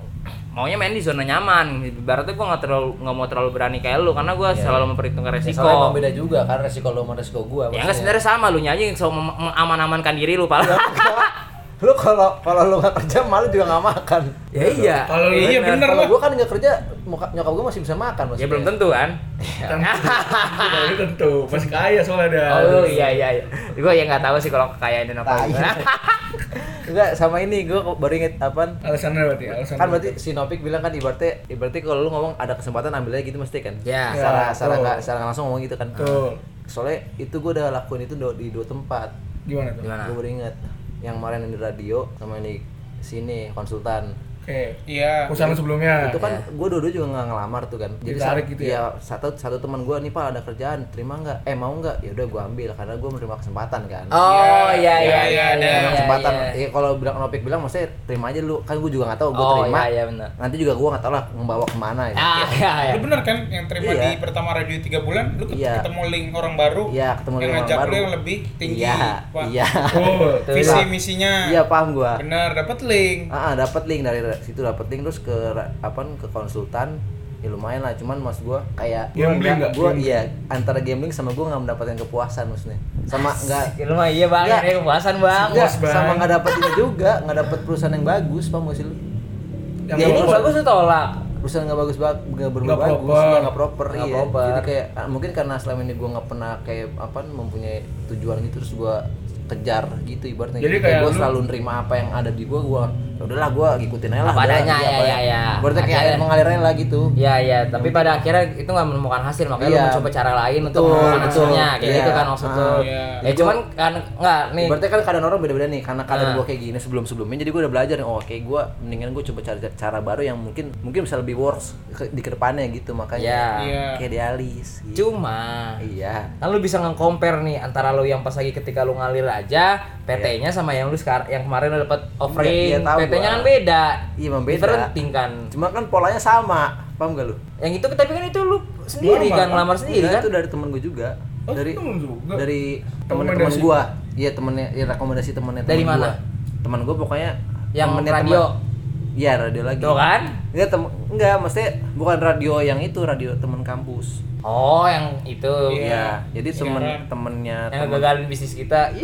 Speaker 1: maunya main di zona nyaman. Ibaratnya gue nggak terlalu nggak mau terlalu berani kayak lu karena gue
Speaker 4: Iya.
Speaker 1: selalu memperhitungkan
Speaker 4: Ya,
Speaker 1: resiko.
Speaker 4: soalnya emang beda juga karena resiko lu sama resiko gua.
Speaker 1: Ya
Speaker 4: maksudnya.
Speaker 1: enggak sebenarnya sama lu nyanyi so mem- mengaman-amankan diri lu pala.
Speaker 4: lu kalau kalau lu nggak kerja malu juga nggak makan.
Speaker 1: *laughs* ya iya.
Speaker 5: Kalau lu- iya, bener.
Speaker 4: Kalau
Speaker 5: lah.
Speaker 4: gua kan nggak kerja, moka- nyokap gua masih bisa makan
Speaker 1: Ya
Speaker 4: maksudnya.
Speaker 1: belum tentu kan.
Speaker 3: Tentu, tentu. Masih kaya soalnya ada.
Speaker 1: Oh iya iya iya. Gue ya nggak tahu sih kalau kekayaan dan apa.
Speaker 4: Tai. Enggak, sama ini gua baru inget apa
Speaker 3: Alasannya berarti, alasannya.
Speaker 4: kan berarti sinopik bilang kan ibaratnya ibaratnya kalau lu ngomong ada kesempatan ambil aja gitu mesti kan
Speaker 1: Ya.
Speaker 3: Ya,
Speaker 4: secara secara
Speaker 3: betul.
Speaker 4: nggak secara nggak langsung ngomong gitu kan
Speaker 3: Betul.
Speaker 4: soalnya itu gue udah lakuin itu do- di dua tempat
Speaker 3: Gimana tuh?
Speaker 1: Gimana?
Speaker 4: gue baru inget yang kemarin yang di radio sama yang di sini konsultan
Speaker 3: Oke.
Speaker 5: Iya.
Speaker 3: Perusahaan sebelumnya.
Speaker 4: itu kan gue dua-dua juga nggak ngelamar tuh kan
Speaker 3: Ya, Ditarik
Speaker 4: sa-
Speaker 3: gitu
Speaker 4: ya, satu satu teman gue nih pak ada kerjaan terima nggak eh mau nggak ya udah gue ambil karena gue menerima kesempatan kan
Speaker 1: *laughs* Oh iya iya
Speaker 5: Iya, iya,
Speaker 1: iya.
Speaker 5: ada
Speaker 1: iya,
Speaker 4: Menerima
Speaker 1: iya,
Speaker 4: kesempatan
Speaker 1: iya.
Speaker 4: ya kalau bilang Nopik bilang maksudnya terima aja lu kan gue juga nggak tahu gue
Speaker 1: Oh
Speaker 4: terima
Speaker 1: iya iya benar.
Speaker 4: nanti juga gue nggak tahu lah membawa kemana ya
Speaker 1: Ah iya iya.
Speaker 5: Lu bener kan yang terima
Speaker 4: Iya.
Speaker 5: di pertama radio 3 bulan, lu ket-
Speaker 4: Iya.
Speaker 5: ketemu link orang baru.
Speaker 4: Iya, ketemu
Speaker 5: yang
Speaker 4: link orang
Speaker 5: ngajak
Speaker 4: baru.
Speaker 5: lu yang lebih tinggi.
Speaker 4: iya
Speaker 5: Pak.
Speaker 3: *laughs*
Speaker 4: iya
Speaker 3: Oh,
Speaker 5: Visi
Speaker 4: Itulah.
Speaker 5: misinya.
Speaker 4: iya paham gue
Speaker 5: Bener, dapat link.
Speaker 4: Ah, ah, dapat link dari ra- situ dapat link terus ke ra- apa ke konsultan ya lumayan lah cuman mas gua kayak
Speaker 3: Gambling nggak?
Speaker 4: gua iya antara gambling sama gua nggak mendapatkan kepuasan maksudnya sama nggak
Speaker 1: Ya, lu mah iya bang,
Speaker 4: Iya.
Speaker 1: ini kepuasan bang.
Speaker 4: nggak,
Speaker 3: Bang.
Speaker 4: sama nggak dapat ini juga nggak dapat perusahaan yang bagus pak sih lu
Speaker 3: Yang
Speaker 4: Ya,
Speaker 1: Ya ini
Speaker 3: bagus.
Speaker 1: bagus tuh tolak.
Speaker 4: perusahaan nggak bagus banget nggak bener
Speaker 3: Nggak
Speaker 4: bagus
Speaker 3: proper.
Speaker 4: ya, nggak proper
Speaker 1: Nggak
Speaker 4: iya
Speaker 1: proper.
Speaker 4: jadi kayak ah, mungkin karena selama ini gua nggak pernah kayak apa mempunyai tujuan gitu terus gua kejar gitu ibaratnya
Speaker 3: Jadi
Speaker 4: Gitu. kayak
Speaker 3: kayak
Speaker 4: gua
Speaker 3: lu-
Speaker 4: selalu nerima apa yang ada di gua gua "Ya udahlah gua ngikutin aja lah
Speaker 1: Apa
Speaker 4: udahlah,
Speaker 1: adanya,
Speaker 4: iya,
Speaker 1: ya,
Speaker 4: apa
Speaker 1: ya,
Speaker 4: yang-"
Speaker 1: ya.
Speaker 4: ibaratnya kayak
Speaker 1: Ada-
Speaker 4: mengalir aja lah gitu
Speaker 1: Iya iya, tapi pada akhirnya itu nggak menemukan hasil, makanya
Speaker 4: Iya.
Speaker 1: lu mencoba cara lain untuk
Speaker 4: Betul,
Speaker 1: menemukan
Speaker 4: betul.
Speaker 1: hasilnya, kayak
Speaker 4: Iya.
Speaker 1: gitu kan maksud lu.
Speaker 4: Ah,
Speaker 5: iya.
Speaker 1: Ya cuman kan nggak nih.
Speaker 4: Ibaratnya kan keadaan orang beda-beda nih karena keadaan
Speaker 1: Nah.
Speaker 4: gua kayak gini sebelum-sebelumnya jadi gua udah belajar nih, oh kayak gua mendingan gua coba cara cara baru yang mungkin mungkin bisa lebih worse ke- di kedepannya gitu
Speaker 1: Iya.
Speaker 4: makanya
Speaker 5: Iya.
Speaker 4: kayak dialis gitu.
Speaker 1: Cuma
Speaker 4: iya
Speaker 1: kan lu bisa nge-compare nih antara lu yang pas lagi ketika lu ngalir aja PT-nya sama yang lu sekarang yang kemarin lu dapat offering.
Speaker 4: Iya, iya, tahu
Speaker 1: PT-nya
Speaker 4: gua.
Speaker 1: kan beda.
Speaker 4: Iya, emang beda.
Speaker 1: Differenting kan.
Speaker 4: cuma kan polanya sama paham gak lu
Speaker 1: Yang itu tapi kan itu lu sendiri
Speaker 3: Normal,
Speaker 1: kan
Speaker 3: kan?
Speaker 1: ngelamar sendiri
Speaker 4: Enggak,
Speaker 1: kan.
Speaker 4: itu dari temen gue juga.
Speaker 3: Oh,
Speaker 4: dari
Speaker 3: temen juga?
Speaker 4: dari teman-teman
Speaker 3: Rekomendasi.
Speaker 4: gue. Iya temennya, ya, iya, rekomendasi temennya.
Speaker 1: Dari
Speaker 4: temen
Speaker 1: mana?
Speaker 4: Gua. Temen gue pokoknya
Speaker 1: Yang
Speaker 4: temennya
Speaker 1: radio?
Speaker 4: temen- Iya radio lagi.
Speaker 1: Tuh kan?
Speaker 4: Enggak tem enggak maksudnya bukan radio yang itu radio teman kampus.
Speaker 1: Oh, yang itu.
Speaker 4: Iya. Jadi temen
Speaker 5: Siaran.
Speaker 4: temennya
Speaker 1: kan? Yang
Speaker 4: temen-
Speaker 1: gagalin bisnis kita. Iya.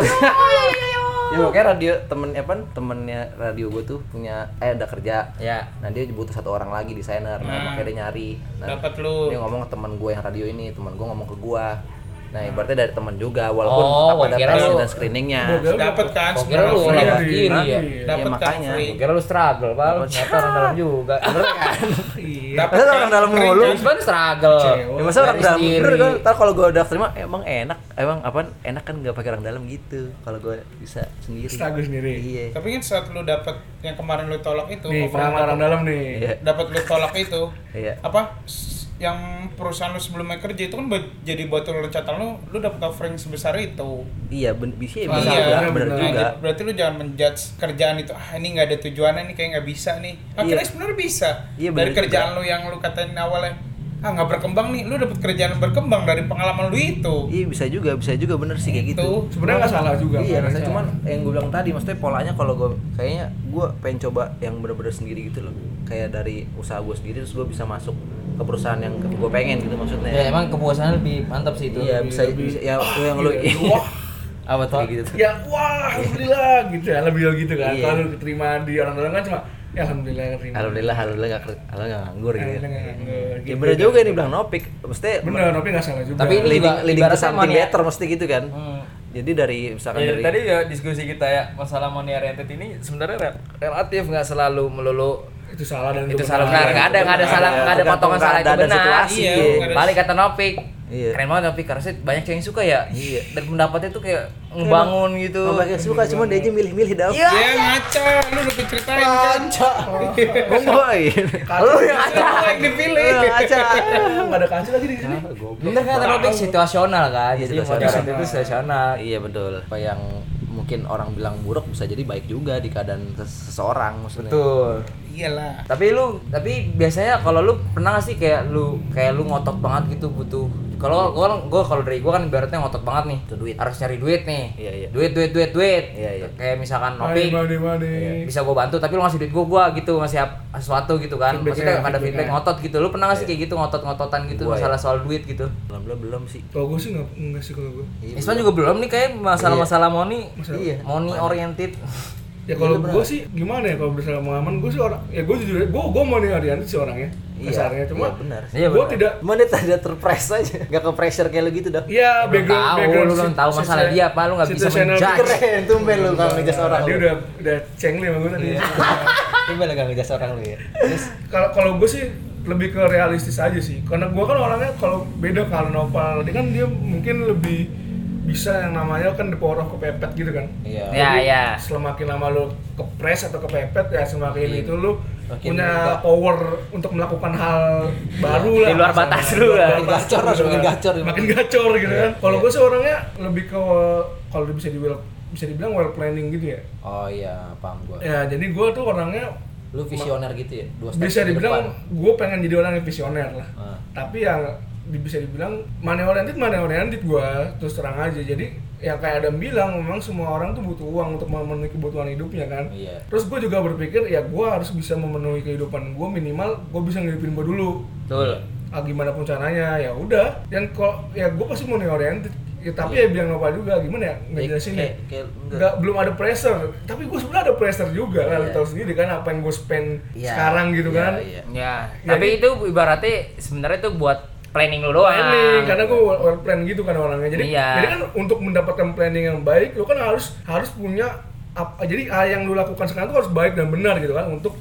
Speaker 4: Ya pokoknya radio temen apa temennya radio gue tuh punya eh udah kerja.
Speaker 1: *laughs* ya.
Speaker 4: Nah dia butuh satu orang lagi desainer, nah,
Speaker 3: Hmm.
Speaker 5: Nah.
Speaker 4: makanya dia nyari. Nah,
Speaker 5: Dapat lu.
Speaker 4: Dia ngomong ke teman gue yang radio ini, teman gue ngomong ke gue. Nah ibaratnya dari teman juga, walaupun
Speaker 1: Oh,
Speaker 4: tetap
Speaker 1: gua
Speaker 4: ada
Speaker 1: kira
Speaker 4: tesnya
Speaker 1: lu-
Speaker 4: dan screeningnya.
Speaker 3: Gua kira-
Speaker 5: Dapat kan
Speaker 1: Gua kira lu
Speaker 5: sebenarnya.
Speaker 1: lewat
Speaker 3: Iya,
Speaker 1: kiri ya.
Speaker 3: iya.
Speaker 5: Dapat
Speaker 4: Iya,
Speaker 5: kan
Speaker 4: makanya.
Speaker 5: free.
Speaker 1: Kira lu struggle, Pal.
Speaker 4: Dapat
Speaker 1: Ternyata orang dalam
Speaker 4: *laughs*
Speaker 1: juga. Bener kan?
Speaker 3: Iya.
Speaker 5: Dapat
Speaker 4: Masa
Speaker 5: kan
Speaker 4: ya? orang dalam
Speaker 5: free,
Speaker 4: mulu?
Speaker 5: kan?
Speaker 1: Husband struggle.
Speaker 3: Cewek.
Speaker 4: Ya masa orang
Speaker 1: Garis
Speaker 4: dalam
Speaker 1: kiri.
Speaker 4: bener kan? Ntar kalau gue udah terima emang enak, emang apa enak kan nggak pakai orang dalam gitu. Kalau gue bisa sendiri.
Speaker 3: Struggle sendiri.
Speaker 4: Iya.
Speaker 5: Tapi kan saat lu dapat yang kemarin lu tolak itu,
Speaker 3: Nih,
Speaker 5: offer
Speaker 3: pengalaman orang dalam nih.
Speaker 4: Iya.
Speaker 5: dapat lu tolak itu
Speaker 4: Iya.
Speaker 5: apa s- yang perusahaan lu sebelumnya kerja itu kan buat- jadi buat loncatan lu lu dapat offering sebesar itu
Speaker 4: Iya, ben- bisa ya,
Speaker 5: Oh,
Speaker 4: bisa
Speaker 5: iya,
Speaker 4: juga,
Speaker 3: bener,
Speaker 4: bener
Speaker 3: bener.
Speaker 4: juga.
Speaker 5: Nah, berarti lu jangan menjudge kerjaan itu ah ini nggak ada tujuannya nih kayak nggak bisa nih akhirnya
Speaker 4: Iya.
Speaker 5: sebenarnya bisa
Speaker 4: Iya, bener
Speaker 5: dari kerjaan lu yang lu katain awalnya ah nggak berkembang nih lu dapat kerjaan yang berkembang dari pengalaman lu itu
Speaker 4: Iya bisa juga, bisa juga bener sih kayak gitu.
Speaker 5: Itu.
Speaker 3: Sebenarnya nggak salah juga. kan,
Speaker 4: Iya,
Speaker 3: nggak
Speaker 4: rasanya
Speaker 3: salah.
Speaker 4: cuman yang gue bilang tadi, maksudnya polanya kalau gue kayaknya gue pengen coba yang bener-bener sendiri gitu loh. Kayak dari usaha gue sendiri terus gue bisa masuk ke perusahaan yang gue pengen gitu maksudnya.
Speaker 1: Ya emang kepuasannya lebih mantap sih itu.
Speaker 4: Iya, bisa,
Speaker 3: lebih-
Speaker 4: bisa- ya lu yang lu
Speaker 3: Iya.
Speaker 4: *laughs*
Speaker 3: Wah.
Speaker 4: apa tuh kayak gitu. tuh.
Speaker 3: ya wah alhamdulillah gitu ya lebih gitu kan
Speaker 4: Iya.
Speaker 3: kalau keterima di orang dalam kan cuma ya alhamdulillah keterima
Speaker 4: Alhamdulillah, alhamdulillah gak, alhamdulillah nggak nganggur gitu.
Speaker 3: Alhamdulillah nggak nganggur,
Speaker 4: Ya
Speaker 3: gitu.
Speaker 4: bener juga nih bilang nopik, maksudnya
Speaker 3: bener tapi nggak salah juga
Speaker 1: Tapi ini
Speaker 4: leading,
Speaker 1: juga
Speaker 4: leading to
Speaker 1: ibaratnya
Speaker 4: something
Speaker 1: money-
Speaker 4: better mesti gitu kan. Jadi dari misalkan
Speaker 6: Ya,
Speaker 4: dari
Speaker 6: tadi ya diskusi kita ya masalah money oriented ini sebenarnya re- relatif nggak selalu melulu
Speaker 3: itu salah dan
Speaker 1: itu salah benar nggak ada nggak ada
Speaker 4: benar.
Speaker 1: salah nggak ada
Speaker 4: Tergantung
Speaker 1: potongan salah itu
Speaker 4: keadaan dan
Speaker 1: benar
Speaker 4: situasi,
Speaker 1: iya
Speaker 4: iya.
Speaker 5: Nggak ada-
Speaker 1: balik kata Nopik
Speaker 4: Iya.
Speaker 1: keren banget Nopik karena banyak cewek yang suka ya
Speaker 4: Iya.
Speaker 1: dan pendapatnya tuh kayak
Speaker 6: Iya.
Speaker 1: ngebangun gitu
Speaker 4: Oh, banyak suka cuma dia aja milih-milih Iya, dah.
Speaker 1: Iya.
Speaker 5: ya ngaca lu udah ceritain kan
Speaker 4: Oh. *laughs* Boy. Lu
Speaker 1: ya.
Speaker 4: yang acak.
Speaker 5: Lu yang dipilih.
Speaker 4: Lu yang acak.
Speaker 3: nggak ada kasus lagi di sini
Speaker 1: bener kata Nopik
Speaker 6: Iya.
Speaker 1: situasional kan
Speaker 4: Iya,
Speaker 1: jadi
Speaker 4: situasional.
Speaker 1: modern itu situasional
Speaker 4: Iya betul. Apa yang mungkin orang bilang buruk bisa jadi baik juga di keadaan ses- seseorang maksudnya.
Speaker 1: betul
Speaker 5: iyalah
Speaker 1: tapi lu tapi biasanya kalau lu pernah gak sih kayak lu kayak lu ngotot banget gitu butuh kalau gua gua kalau dari gua kan ibaratnya ngotot banget nih
Speaker 4: Itu duit.
Speaker 1: harus cari duit nih
Speaker 4: Iya, iya.
Speaker 1: duit duit duit duit
Speaker 4: Iya, iya.
Speaker 1: kayak misalkan Nopik
Speaker 3: mani mani mani
Speaker 1: bisa gue bantu tapi lu ngasih duit gue gue gitu ngasih ap- sesuatu gitu kan
Speaker 3: Feedbacknya,
Speaker 1: maksudnya nggak ada
Speaker 3: feedbacknya.
Speaker 1: feedback ngotot gitu lu pernah nggak sih kayak gitu ngotot ngototan gitu
Speaker 4: Iya. Gua ya.
Speaker 1: masalah soal duit gitu
Speaker 4: Alhamdulillah belum sih.
Speaker 3: kalau gue sih nggak nggak sih kalau gue
Speaker 4: Iya,
Speaker 1: Isma juga belum nih kayak masalah-masalah money
Speaker 3: Masalah-
Speaker 1: iya money oriented
Speaker 3: ya
Speaker 4: Gitu,
Speaker 3: kalau gue sih gimana ya kalau berdasarkan pengalaman gue sih orang ya gue jujur gue gue mau nih Aryan sih orangnya
Speaker 4: Iya,
Speaker 3: dasarnya cuma
Speaker 4: iya, benar.
Speaker 1: Iya,
Speaker 3: gue
Speaker 1: benar.
Speaker 3: tidak
Speaker 4: Cuma dia tidak terpress aja. Gak ke pressure kayak lu gitu dah.
Speaker 1: Lu
Speaker 3: Iya, background,
Speaker 1: tahu,
Speaker 3: background
Speaker 1: lu belum
Speaker 3: sit-
Speaker 1: tahu masalah
Speaker 3: sit-
Speaker 1: dia apa, lu nggak bisa
Speaker 3: situational
Speaker 1: menjudge.
Speaker 3: picture.
Speaker 4: Keren tumben lu Iya. kalau ngejas orang.
Speaker 3: Dia Iya, udah udah cengli sama gue tadi.
Speaker 4: Tumben lu gak ngejas orang lu ya.
Speaker 3: *laughs* kalau kalau gue sih lebih ke realistis aja sih karena gue kan orangnya kalau beda kalau Nopal dia kan dia mungkin lebih bisa yang namanya kan the power of kepepet gitu kan
Speaker 4: Iya.
Speaker 1: ya ya
Speaker 3: selemakin lama lu kepres atau kepepet ya semakin
Speaker 1: Iya.
Speaker 3: itu lu
Speaker 4: Makin
Speaker 3: punya
Speaker 4: berubah.
Speaker 3: power untuk melakukan hal baru lah
Speaker 1: Di luar batas lu lah.
Speaker 3: Makin
Speaker 4: Gacor harus
Speaker 3: gitu
Speaker 4: makin
Speaker 3: kan.
Speaker 4: gacor. Iya.
Speaker 3: makin gacor gitu kan kalau gue sih orangnya lebih ke kalau bisa dibilang bisa dibilang well planning gitu ya
Speaker 4: Oh iya, paham gua.
Speaker 3: ya jadi gue tuh orangnya
Speaker 4: Lu visioner gitu ya? Dua step
Speaker 3: bisa
Speaker 4: ke
Speaker 3: dibilang
Speaker 4: depan.
Speaker 3: gue pengen jadi orang yang visioner lah
Speaker 4: Ah.
Speaker 3: tapi yang di- bisa dibilang money oriented money oriented gue terus terang aja jadi yang kayak Adam bilang memang semua orang tuh butuh uang untuk memenuhi kebutuhan hidupnya kan
Speaker 4: Iya.
Speaker 3: terus gue juga berpikir ya gue harus bisa memenuhi kehidupan gue minimal gue bisa ngidupin gue dulu
Speaker 1: betul
Speaker 3: ah, gimana pun caranya ya udah dan kok ya gue pasti money oriented ya, tapi ya bilang apa juga gimana ya nggak
Speaker 4: Kayak-
Speaker 3: jelasin ya
Speaker 4: Iya. kayak- kayak enggak.
Speaker 3: nggak belum ada pressure tapi gue sebenarnya ada pressure juga kan lo
Speaker 4: Iya.
Speaker 3: tau sendiri kan apa yang gue spend
Speaker 4: Iya.
Speaker 3: sekarang gitu
Speaker 4: Iya,
Speaker 3: kan
Speaker 4: Iya.
Speaker 1: ya
Speaker 3: Jadi-
Speaker 1: tapi itu ibaratnya sebenarnya itu buat planning lu doang
Speaker 3: planning Oh, karena gue well, well plan gitu kan orangnya jadi
Speaker 1: Iya.
Speaker 3: jadi kan untuk mendapatkan planning yang baik lo kan harus harus punya apa jadi hal yang lo lakukan sekarang tuh harus baik dan benar gitu kan untuk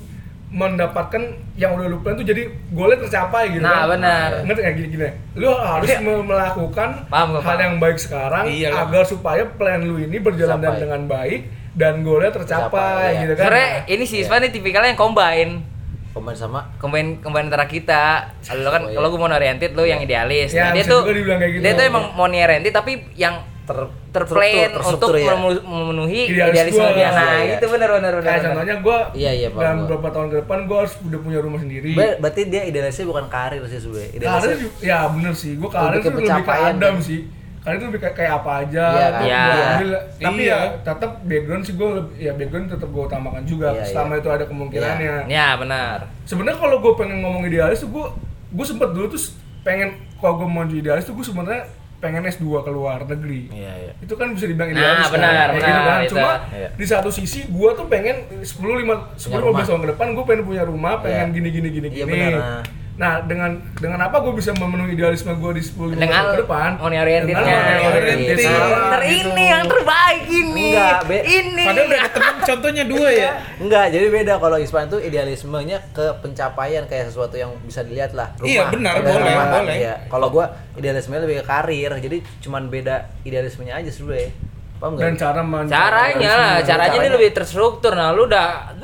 Speaker 3: mendapatkan yang udah lo plan tuh jadi goalnya tercapai gitu
Speaker 1: Nah,
Speaker 3: kan
Speaker 1: benar. Iya.
Speaker 3: ngerti nggak gini gini lo harus me- melakukan
Speaker 1: Paham, gua
Speaker 3: hal
Speaker 1: paham.
Speaker 3: yang baik sekarang
Speaker 5: Iya, lah.
Speaker 3: agar supaya plan lo ini berjalan
Speaker 4: Tercapai.
Speaker 3: dengan baik dan goalnya
Speaker 4: Tercapai,
Speaker 3: tercapai
Speaker 4: iya.
Speaker 3: gitu kan
Speaker 1: sebenarnya ini si Isma nih tipikalnya yang combine
Speaker 4: Komen sama
Speaker 1: combine combine antara kita lo kan
Speaker 4: Oh, iya.
Speaker 1: kalau gue money oriented lo yang idealis nah
Speaker 3: Ya,
Speaker 1: dia
Speaker 3: bisa
Speaker 1: tuh
Speaker 3: juga dibilang kayak gitu.
Speaker 1: dia tuh emang money oriented tapi yang ter terplan
Speaker 4: terstruktur,
Speaker 1: untuk
Speaker 4: terstruktur ya.
Speaker 1: memu- memenuhi
Speaker 3: Idealis
Speaker 1: idealisme
Speaker 3: gua.
Speaker 1: dia nah
Speaker 4: Iya, iya.
Speaker 1: itu bener bener bener,
Speaker 3: kayak
Speaker 1: bener.
Speaker 3: contohnya gue
Speaker 4: Iya, iya, paham
Speaker 3: dalam
Speaker 4: gua.
Speaker 3: beberapa tahun ke depan gue harus udah punya rumah sendiri
Speaker 4: Ber- berarti dia idealisnya bukan karir sih sebenarnya.
Speaker 3: Iya. Karir
Speaker 4: Idealisnya
Speaker 3: ju- ya bener sih, gue karir
Speaker 4: Lebih ke
Speaker 3: tuh lebih ke
Speaker 4: pencapaian
Speaker 3: Adam
Speaker 4: kan?
Speaker 3: sih. karena itu lebih kayak, kayak apa aja
Speaker 4: Iya,
Speaker 3: tetap
Speaker 1: iya.
Speaker 3: gua ambil. tapi
Speaker 5: Iya.
Speaker 3: ya tetap background sih gue ya background tetap gue utamakan juga
Speaker 4: Iya,
Speaker 3: selama
Speaker 4: iya.
Speaker 3: itu ada kemungkinannya
Speaker 1: Ya benar.
Speaker 3: sebenarnya kalau gue pengen ngomong idealis tuh gue gue sempet dulu tuh pengen kalau gue mau jadi idealis tuh gue sebenarnya pengen S2 ke luar negeri
Speaker 4: Iya, iya.
Speaker 3: itu kan bisa dibilang
Speaker 1: Nah,
Speaker 3: idealis kan,
Speaker 1: benar,
Speaker 3: kayak gitu
Speaker 1: benar,
Speaker 3: kan.
Speaker 1: itu.
Speaker 3: cuma
Speaker 4: Iya.
Speaker 3: di satu sisi gue tuh pengen 10 5 10 15
Speaker 4: rumah.
Speaker 3: tahun ke depan gue pengen punya rumah pengen
Speaker 4: Iya.
Speaker 3: gini gini gini
Speaker 4: Iya,
Speaker 3: gini
Speaker 4: benar.
Speaker 3: nah dengan dengan apa gue bisa memenuhi idealisme gue di 10 15
Speaker 1: Dengan
Speaker 3: tahun ke depan
Speaker 1: money oriented-nya.
Speaker 3: Dengan money oriented.
Speaker 4: Iya.
Speaker 3: Nah,
Speaker 1: Ter ini yang terbaik ini.
Speaker 4: Enggak, Be.
Speaker 1: Ini.
Speaker 5: Padahal udah ketemu contohnya dua ya.
Speaker 4: Enggak, jadi beda kalau Ispan itu idealismenya ke pencapaian kayak sesuatu yang bisa dilihat lah. Rumah,
Speaker 5: Iya, benar,
Speaker 4: Kayak
Speaker 5: boleh, boleh.
Speaker 4: Iya. Kalau gua idealismenya lebih ke karir, jadi cuman beda idealismenya aja sebenarnya. Paham enggak?
Speaker 3: dan cara men-
Speaker 1: Caranya lah, caranya ini
Speaker 4: Caranya.
Speaker 1: lebih terstruktur. Nah, lu udah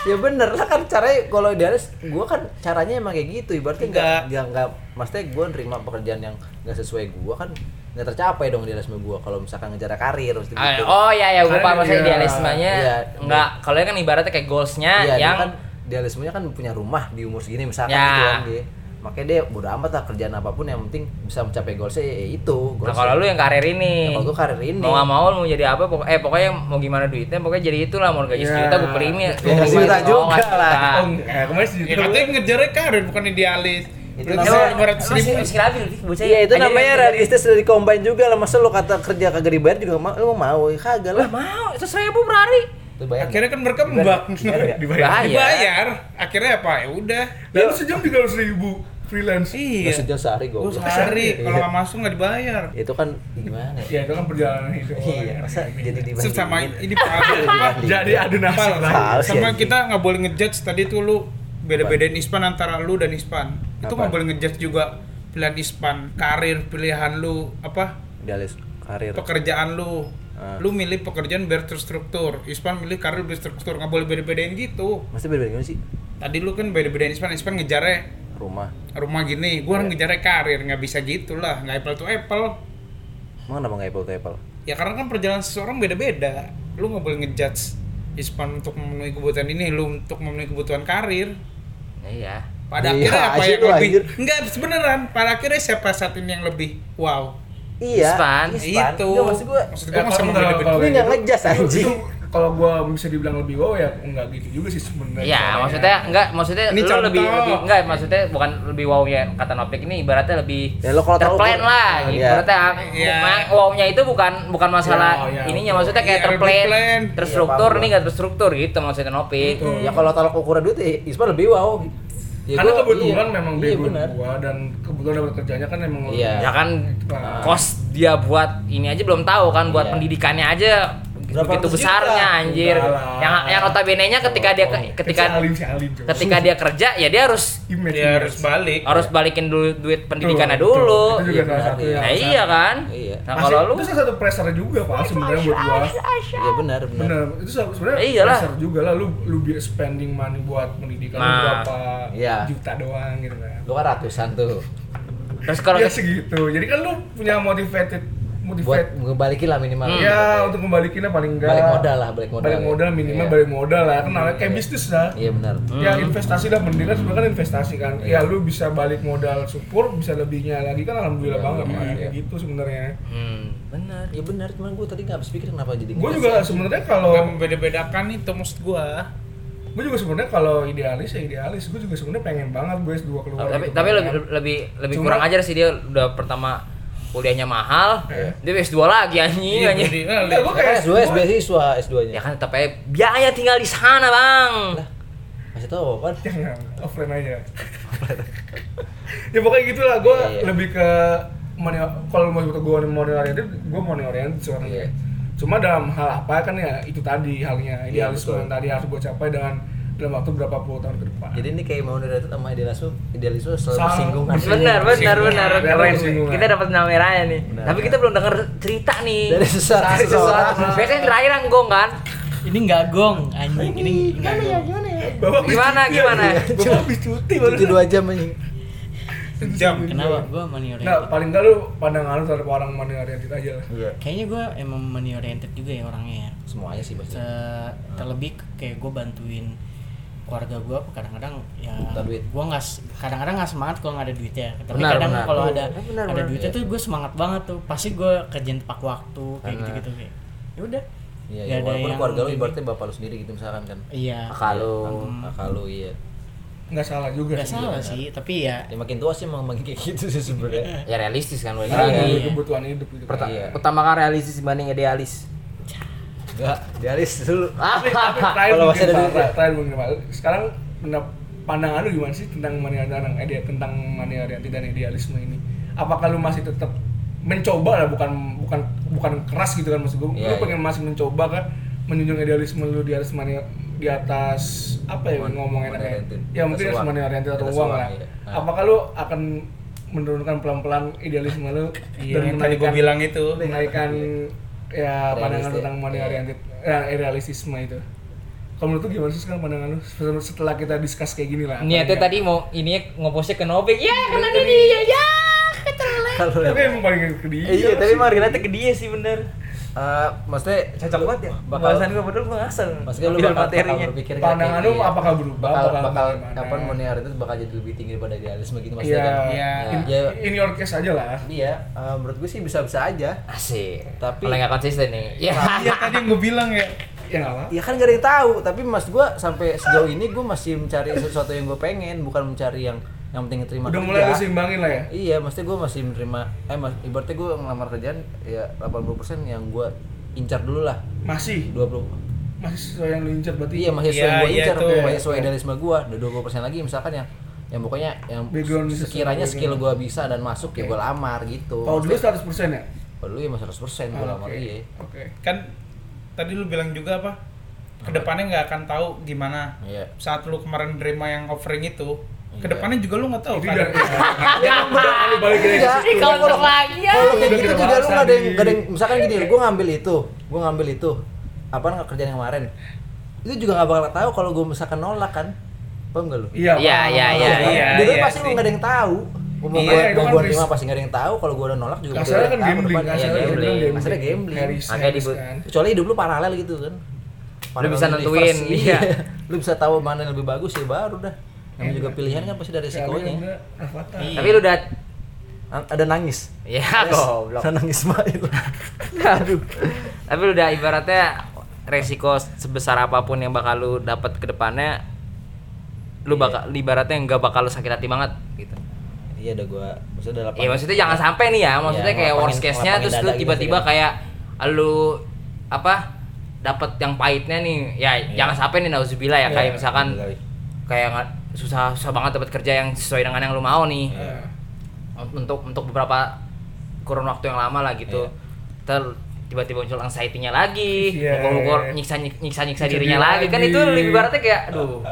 Speaker 4: ya bener lah kan caranya kalau idealis gua kan caranya emang kayak gitu ibaratnya enggak
Speaker 5: Enggak.
Speaker 4: enggak enggak maksudnya gua nerima pekerjaan yang enggak sesuai gua kan enggak tercapai dong idealisme gua kalau misalkan ngejar karir mesti
Speaker 1: Ah,
Speaker 4: gitu.
Speaker 1: Oh ya ya gue
Speaker 3: Karena
Speaker 1: paham maksudnya
Speaker 3: iya.
Speaker 1: idealismenya.
Speaker 4: Iya.
Speaker 1: Enggak, kalau ini kan ibaratnya kayak goalsnya
Speaker 4: Iya, dia
Speaker 1: yang Nah,
Speaker 4: kan idealismenya kan punya rumah di umur segini misalkan
Speaker 1: Ya.
Speaker 4: gitu kan dia. Makanya dia bodo amat lah kerjaan apapun yang penting bisa mencapai goalsnya ya itu.
Speaker 1: Nah, kalau lu yang karir ini.
Speaker 4: Nah, kalau gua karir ini.
Speaker 1: Mau gak mau lu mau jadi apa pokok- eh pokoknya mau gimana duitnya pokoknya jadi itulah mau gaji
Speaker 3: Iya.
Speaker 1: sejuta gue pelimnya.
Speaker 4: Ya, sejuta juga lah.
Speaker 3: Oh, enggak, kemarin sih
Speaker 5: Ya katanya ngejarnya karir bukan idealis. Berarti
Speaker 4: Iya. namanya-
Speaker 5: lima ratus ribu.
Speaker 4: Iya itu
Speaker 1: kan?
Speaker 4: namanya realistis dari combine juga lah masa lu kata kerja kagak dibayar juga mau lu mau ya kagak lah.
Speaker 1: Mau seribu per hari.
Speaker 4: Lu bayangin.
Speaker 5: Akhirnya kan berkembang.
Speaker 4: Dibayar
Speaker 5: *laughs*
Speaker 4: nggak?
Speaker 3: dibayar.
Speaker 5: Dibayar. Akhirnya apa? Ya udah.
Speaker 3: Dan lu sejam 300 ribu freelance.
Speaker 4: Nggak
Speaker 5: Iya.
Speaker 4: sejam Iya. sehari gue.
Speaker 5: Gue sehari kalau nggak masuk nggak dibayar.
Speaker 4: Itu kan gimana ya?
Speaker 3: Ya itu kan perjalanan hidup.
Speaker 4: Iya, Iya. masa jadi dibandingin.
Speaker 5: Sama ini *laughs* palsu. Pak.
Speaker 3: Jadi ada nasib
Speaker 5: Pal,
Speaker 3: lah.
Speaker 4: Palsu,
Speaker 5: sama
Speaker 4: anjing.
Speaker 5: kita nggak boleh ngejudge tadi tuh lu beda-bedain ispan antara lu dan ispan.
Speaker 4: Iya. Apa?
Speaker 5: Itu nggak boleh ngejudge juga pilihan ispan, karir pilihan lu apa
Speaker 4: Idealis karir.
Speaker 5: pekerjaan lu.
Speaker 4: Gitu. Ah.
Speaker 5: Lu milih pekerjaan biar terstruktur, ispan milih karir berstruktur, nggak boleh beda-bedain gitu.
Speaker 4: Masa beda gimana sih?
Speaker 5: Tadi lu kan beda-bedain ispan, ispan ngejarnya
Speaker 4: Rumah.
Speaker 5: rumah gini,
Speaker 4: Iya.
Speaker 5: gua harus ngejarnya karir, nggak bisa gitu lah, nggak apple to apple.
Speaker 4: Emang kenapa nggak apple to apple?
Speaker 5: Ya karena kan perjalanan seseorang beda-beda. Lu nggak boleh ngejudge ispan untuk memenuhi kebutuhan ini, lu untuk memenuhi kebutuhan karir.
Speaker 1: Iya.
Speaker 5: Pada
Speaker 4: Iya,
Speaker 5: akhirnya apa
Speaker 4: anjing
Speaker 5: yang
Speaker 4: lu,
Speaker 5: lebih?
Speaker 4: anjir.
Speaker 5: Enggak, sebeneran. Pada akhirnya siapa saat ini yang lebih? Wow.
Speaker 4: Iya.
Speaker 1: Ispan.
Speaker 4: Ispan.
Speaker 5: Itu.
Speaker 4: Nggak, maksud gue.
Speaker 5: maksud
Speaker 3: Ya,
Speaker 5: gua masa
Speaker 3: kalau-
Speaker 5: mau
Speaker 3: kalau-
Speaker 5: beda-beda.
Speaker 3: kalau
Speaker 4: Ini nggak
Speaker 3: gitu,
Speaker 4: ngejas,
Speaker 3: itu-
Speaker 4: anjing.
Speaker 3: itu Kalau gua bisa dibilang lebih wow ya enggak gitu juga sih sebenarnya.
Speaker 1: Iya,
Speaker 3: Soalnya.
Speaker 1: maksudnya enggak maksudnya
Speaker 5: Ini
Speaker 1: lu
Speaker 5: contoh.
Speaker 1: lebih lebih enggak maksudnya bukan lebih wow ya kata Nopik ini ibaratnya lebih
Speaker 4: Ya, lu kalau tahu-
Speaker 1: terplan lah. gitu.
Speaker 4: Iya.
Speaker 1: Ibaratnya ah,
Speaker 5: Iya.
Speaker 1: ma- wow-nya itu bukan bukan masalah
Speaker 3: Iya, iya,
Speaker 1: ininya
Speaker 3: betul.
Speaker 1: maksudnya kayak
Speaker 5: Iya, lebih
Speaker 1: terplan,
Speaker 5: plan.
Speaker 1: terstruktur
Speaker 4: Iya, paham
Speaker 1: nih enggak terstruktur gitu maksudnya Nopik.
Speaker 4: Ya kalau tolak ukuran duit ya Ispan lebih wow. Ya,
Speaker 3: Hmm. Karena
Speaker 4: gua-
Speaker 3: kebetulan
Speaker 4: iya.
Speaker 3: memang
Speaker 4: Iya
Speaker 3: bego
Speaker 4: benar.
Speaker 3: gua dan kebetulan dapat kerjanya kan emang
Speaker 4: Iya.
Speaker 1: ya kan
Speaker 3: Nah.
Speaker 1: kos dia buat ini aja belum tahu kan buat
Speaker 4: Iya.
Speaker 1: pendidikannya aja
Speaker 4: Berapa
Speaker 1: begitu
Speaker 4: ratus
Speaker 1: besarnya
Speaker 4: juta?
Speaker 1: anjir
Speaker 3: Enggak lah.
Speaker 1: yang yang notabene-nya ketika dia ke- ketika
Speaker 3: si Alim si Alim. coba.
Speaker 1: ketika dia kerja ya dia harus
Speaker 3: Image, image.
Speaker 5: Dia Ya harus balik.
Speaker 1: harus balikin dulu duit pendidikannya
Speaker 3: Betul, betul.
Speaker 1: dulu
Speaker 3: Itu juga
Speaker 4: Iya,
Speaker 3: salah
Speaker 4: benar,
Speaker 3: satu
Speaker 4: iya.
Speaker 1: nah
Speaker 3: yang salah.
Speaker 1: iya kan
Speaker 4: Iya.
Speaker 1: nah
Speaker 3: Masih-
Speaker 1: kalau lu
Speaker 3: itu salah satu pressure juga pak sebenarnya buat gua.
Speaker 4: Iya benar benar.
Speaker 3: Bener, itu salah- sebenarnya
Speaker 1: Ya iyalah.
Speaker 3: pressure juga lah lu lu bi- spending money buat pendidikan lu
Speaker 1: Nah.
Speaker 3: berapa
Speaker 4: Iya.
Speaker 3: juta doang gitu kan.
Speaker 4: Lu kan ratusan tuh.
Speaker 1: terus kalau
Speaker 3: ya segitu. Jadi kan lu punya motivated
Speaker 4: Buat
Speaker 3: motivate
Speaker 4: ngebalikin lah minimal. Iya,
Speaker 3: ya untuk membalikinnya paling enggak
Speaker 4: Balik modal lah, balik modal.
Speaker 3: Balik modal minimal
Speaker 4: Iya.
Speaker 3: balik modal lah. Kan namanya kayak bisnis lah.
Speaker 4: Iya benar.
Speaker 3: Ya investasi lah mendingan sebenarnya kan investasi kan. Ya lu bisa balik modal support, bisa lebihnya lagi kan alhamdulillah
Speaker 4: Iya,
Speaker 3: banget
Speaker 4: iya.
Speaker 3: Pak. Kayak gitu sebenarnya.
Speaker 1: hmm, benar
Speaker 4: Iya benar, cuman gue tadi nggak habis pikir kenapa jadi.
Speaker 3: Gue
Speaker 4: ngejas
Speaker 3: juga
Speaker 4: ya.
Speaker 3: sebenarnya
Speaker 5: Nggak
Speaker 3: kalau
Speaker 5: membeda-bedakan itu maksud gua.
Speaker 3: gue juga sebenarnya kalau idealis ya idealis. Gue juga sebenarnya pengen banget gue S2 keluar.
Speaker 1: tapi
Speaker 3: gitu
Speaker 1: tapi
Speaker 3: kan.
Speaker 1: lebih lebih lebih
Speaker 3: Cuma-
Speaker 1: kurang ajar sih dia udah pertama kuliahnya mahal
Speaker 3: Iya.
Speaker 1: dia S2 lagi anjing
Speaker 5: Iya,
Speaker 1: anjing
Speaker 5: jadi-
Speaker 3: Enggak, gue
Speaker 4: Kan
Speaker 3: kayak
Speaker 4: S2, S2 siswa S2-nya.
Speaker 1: ya kan tetap aja biaya tinggal di sana bang
Speaker 4: Masih tahu kan?
Speaker 3: Jangan, ya, offline aja. *laughs* ya pokoknya gitulah, gue
Speaker 4: Iya, iya.
Speaker 3: lebih ke money, kalau mau sebut gue money oriented, gue money oriented sebenarnya.
Speaker 4: Iya.
Speaker 3: Cuma dalam hal apa kan ya itu tadi halnya
Speaker 4: Iya,
Speaker 3: idealisme
Speaker 4: betul.
Speaker 3: yang tadi harus gue capai dengan dalam waktu berapa puluh tahun ke depan.
Speaker 4: Jadi ini kayak mau itu sama idealisme, idealisme selalu kan?
Speaker 3: Sama.
Speaker 4: bersinggungan.
Speaker 1: benar benar benar
Speaker 3: Singgungan.
Speaker 1: keren
Speaker 3: Singgungan.
Speaker 1: kita dapat nama merahnya nih
Speaker 4: Benar.
Speaker 1: tapi kita belum dengar cerita nih
Speaker 4: Dari sesuatu.
Speaker 1: Dari sesuatu. biasanya yang terakhir yang gong kan
Speaker 2: Ini nggak gong, anjing. Ini
Speaker 3: Iya,
Speaker 2: nggak gong.
Speaker 3: Bapak habis
Speaker 1: Gimana,
Speaker 3: cuti,
Speaker 1: gimana?
Speaker 3: ya? Bapak habis cuti baru.
Speaker 4: Itu dua jam anjing.
Speaker 5: Sejam.
Speaker 2: Kenapa? Gue money
Speaker 3: Nah,
Speaker 2: oriented.
Speaker 3: paling enggak lu pandangan lu terhadap orang money oriented aja lah.
Speaker 4: Iya.
Speaker 2: Kayaknya gue emang money oriented juga ya orangnya. ya.
Speaker 4: Semuanya sih pasti.
Speaker 2: Se- terlebih kayak gue bantuin keluarga gue kadang-kadang ya
Speaker 4: Minta duit.
Speaker 2: gue nggak s- kadang-kadang nggak semangat kalau nggak ada duitnya tapi
Speaker 6: Benar,
Speaker 2: kadang
Speaker 6: benar.
Speaker 2: kalau ada
Speaker 4: Iya, benar,
Speaker 2: ada
Speaker 4: benar,
Speaker 2: duitnya
Speaker 4: iya.
Speaker 2: tuh gue semangat banget tuh pasti gue kerjaan tepat waktu kayak
Speaker 4: Karena-
Speaker 2: gitu-gitu kayak ya udah
Speaker 4: Iya,
Speaker 2: Nggak
Speaker 4: iya.
Speaker 2: ada
Speaker 4: Walaupun
Speaker 2: yang
Speaker 4: keluarga lu
Speaker 2: lebih-
Speaker 4: ibaratnya bapak lu sendiri gitu misalkan kan.
Speaker 2: iya
Speaker 4: Kakak lu,
Speaker 2: Hmm.
Speaker 4: kakak lu iya.
Speaker 5: nggak salah juga
Speaker 2: nggak salah sih tapi ya
Speaker 4: Ya makin tua sih emang makin kayak gitu sih
Speaker 3: Iya.
Speaker 4: sebenarnya.
Speaker 1: ya realistis kan balik
Speaker 3: Karena
Speaker 1: lagi.
Speaker 3: ada kebutuhan hidup gitu.
Speaker 6: Perta-
Speaker 4: Iya.
Speaker 6: Pertama kan realistis dibanding idealis.
Speaker 4: Enggak, dialis dulu.
Speaker 3: Terakhir
Speaker 4: Kalau
Speaker 3: mungkin
Speaker 4: masih ada
Speaker 3: Pak,
Speaker 4: duit ya?
Speaker 3: terakhir mungkin Pak. Sekarang pendap- pandangan lu gimana sih tentang mania tentang ide- tentang mania oriented dan idealisme ini? Apakah lu masih tetap mencoba lah bukan bukan bukan keras gitu kan maksud gue. lu
Speaker 4: Iya, iya.
Speaker 3: pengen masih mencoba kan menunjung idealisme lu di atas mania di atas apa ya
Speaker 4: Mon-
Speaker 3: ngomongnya
Speaker 4: money
Speaker 3: kayak
Speaker 4: oriented.
Speaker 3: ya mungkin
Speaker 4: Atas
Speaker 3: atas
Speaker 4: uang.
Speaker 3: mania oriented atau
Speaker 4: Atas
Speaker 3: uang
Speaker 4: uang,
Speaker 3: lah.
Speaker 4: iya. Nah.
Speaker 3: Apakah lu akan menurunkan pelan-pelan idealisme lu
Speaker 5: Iya, yang tadi gue
Speaker 3: menaikkan-
Speaker 5: bilang itu
Speaker 3: menaikkan ya pandangan
Speaker 4: Realistis.
Speaker 3: tentang money
Speaker 4: Iya.
Speaker 3: oriented eh, realistisme itu. Kalau menurut lu gimana sih sekarang pandangan lu Setelah- setelah kita discuss kayak gini lah?
Speaker 1: *laughs*
Speaker 3: apa
Speaker 1: Niatnya
Speaker 3: enggak?
Speaker 1: tadi mau ininya ngopostnya ke Nobek. Ya karena dia dia ya.
Speaker 4: Kalau
Speaker 3: Tapi emang paling ke dia.
Speaker 6: Iya, tapi emang relate ke dia sih bener.
Speaker 4: Eh, maksudnya
Speaker 6: Cocok banget ya.
Speaker 4: Bakal-
Speaker 6: Bahasan gue bener gue ngasal.
Speaker 4: maksudnya lu
Speaker 6: Ambil
Speaker 4: bakal,
Speaker 6: materinya.
Speaker 4: bakal berpikir nggak
Speaker 3: Pandangan
Speaker 4: kayak
Speaker 3: lu
Speaker 4: gini ya?
Speaker 3: apakal berubah?
Speaker 4: bakal
Speaker 3: Apakal
Speaker 4: bakal
Speaker 3: gimana?
Speaker 4: kapan money oriented bakal jadi lebih tinggi daripada idealisme gitu maksudnya
Speaker 3: Iya.
Speaker 4: kan.
Speaker 3: Iya. In,
Speaker 4: Ya.
Speaker 3: in your case aja lah.
Speaker 4: Iya, eh, menurut gue sih bisa-bisa aja.
Speaker 1: Asik.
Speaker 4: Tapi-
Speaker 1: Kalau nggak konsisten nih. Ya.
Speaker 5: iya tadi yang gue bilang ya
Speaker 3: Ya enggak apa.
Speaker 4: Ya kan gak ada yang tahu, tapi mas gue sampai sejauh ini gue masih mencari sesuatu yang gue pengen, bukan mencari yang yang penting terima
Speaker 3: Udah
Speaker 4: kerja.
Speaker 3: mulai lu seimbangin lah ya.
Speaker 4: Iya, maksudnya gue masih menerima, eh mas, ibaratnya gue ngelamar kerjaan ya 80% yang gue incar dulu lah,
Speaker 3: Masih
Speaker 4: 20
Speaker 3: masih sesuai yang lu incer berarti.
Speaker 4: Iya masih sesuai
Speaker 5: Iya,
Speaker 4: yang gua
Speaker 5: iya
Speaker 4: incar,
Speaker 5: tuh.
Speaker 4: masih sesuai idealisme gua. Ada 20% lagi misalkan yang yang pokoknya yang
Speaker 3: Background
Speaker 4: se- sekiranya
Speaker 3: sesuai
Speaker 4: skill gua bisa dan masuk ya gua lamar gitu.
Speaker 3: Kalau dulu
Speaker 4: Maksudnya,
Speaker 3: 100% ya?
Speaker 4: kalau dulu ya masih 100% gua
Speaker 3: Ah,
Speaker 4: lamar
Speaker 3: Oke.
Speaker 4: iya.
Speaker 3: Oke.
Speaker 5: kan tadi lu bilang juga apa kedepannya nggak akan tahu gimana
Speaker 4: Iya.
Speaker 5: saat lu kemarin nerima yang offering itu kedepannya juga lu nggak tahu
Speaker 3: Itu
Speaker 5: kan
Speaker 3: udah
Speaker 5: *laughs*
Speaker 3: ya. Udah balik lagi.
Speaker 4: Enggak,
Speaker 2: Iya.
Speaker 4: kalau kalau- kalau kayak gitu juga lu nggak ada yang nggak ada yang- misalkan gini, gua ngambil itu, gua ngambil itu. Apaan nggak kerjaan yang kemarin? Itu juga nggak bakal tahu kalau gua misalkan nolak kan. Paham nggak lu?
Speaker 3: Iya.
Speaker 1: Iya,
Speaker 3: paham.
Speaker 1: iya, iya.
Speaker 5: iya,
Speaker 4: Dulu
Speaker 5: iya
Speaker 4: pasti
Speaker 5: sih.
Speaker 4: nggak ada yang tahu. Gua mau
Speaker 3: Iya,
Speaker 4: gua-
Speaker 3: itu
Speaker 4: mau
Speaker 3: kan
Speaker 4: gua
Speaker 3: risk.
Speaker 4: terima pasti nggak ada yang tahu. Kalau gua udah nolak juga. nggak
Speaker 3: Kasarnya
Speaker 4: ada
Speaker 3: kan
Speaker 4: yang tahu
Speaker 3: gambling,
Speaker 4: depannya. Iya,
Speaker 3: kasarnya kan
Speaker 4: gambling.
Speaker 1: gambling.
Speaker 4: Kasarnya gambling.
Speaker 3: Nggak risk,
Speaker 1: Makanya
Speaker 3: nggak risk,
Speaker 1: dibu-
Speaker 3: kan.
Speaker 4: kecuali hidup lu paralel gitu kan
Speaker 1: Lu bisa
Speaker 4: Paralel *laughs*
Speaker 1: nentuin,
Speaker 4: universe,
Speaker 1: iya.
Speaker 4: lu bisa tahu mana yang lebih bagus ya baru dah namanya
Speaker 1: Iya.
Speaker 4: juga pilihan kan pasti dari
Speaker 3: Sekali
Speaker 4: resikonya
Speaker 3: enggak, Avatar.
Speaker 1: *laughs* Tapi lu udah
Speaker 4: A- ada nangis
Speaker 1: ya *laughs*
Speaker 4: Yes.
Speaker 1: goblok.
Speaker 4: Ada nangis
Speaker 1: *laughs*
Speaker 4: banget
Speaker 1: Aduh. Tapi lu udah ibaratnya resiko sebesar apapun yang bakal lu dapat ke depannya lu bakal ibaratnya nggak bakal lu sakit hati banget gitu.
Speaker 4: iya udah gua maksudnya udah
Speaker 1: Ya maksudnya jangan sampai nih ya, maksudnya
Speaker 4: Iya,
Speaker 1: kayak
Speaker 4: ngelapangin-
Speaker 1: worst case-nya
Speaker 4: ngelapangin
Speaker 1: terus lu
Speaker 4: dada gitu
Speaker 1: tiba-tiba
Speaker 4: sih.
Speaker 1: kayak lu apa dapat yang pahitnya nih. Ya
Speaker 4: Iya.
Speaker 1: jangan sampai nih nauzubillah ya kayak misalkan kayak nggak- susah susah banget dapat kerja yang sesuai dengan yang lu mau
Speaker 4: Iya.
Speaker 1: nih. Untuk untuk beberapa kurun waktu yang lama lah gitu. Ter tiba-tiba muncul anxiety-nya lagi,
Speaker 3: Iya.
Speaker 1: mukul-mukul nyiksa nyiksa nyiksa
Speaker 3: Nyiksa
Speaker 1: dirinya
Speaker 3: diri
Speaker 1: lagi kan
Speaker 3: lagi.
Speaker 1: itu ibaratnya kayak aduh.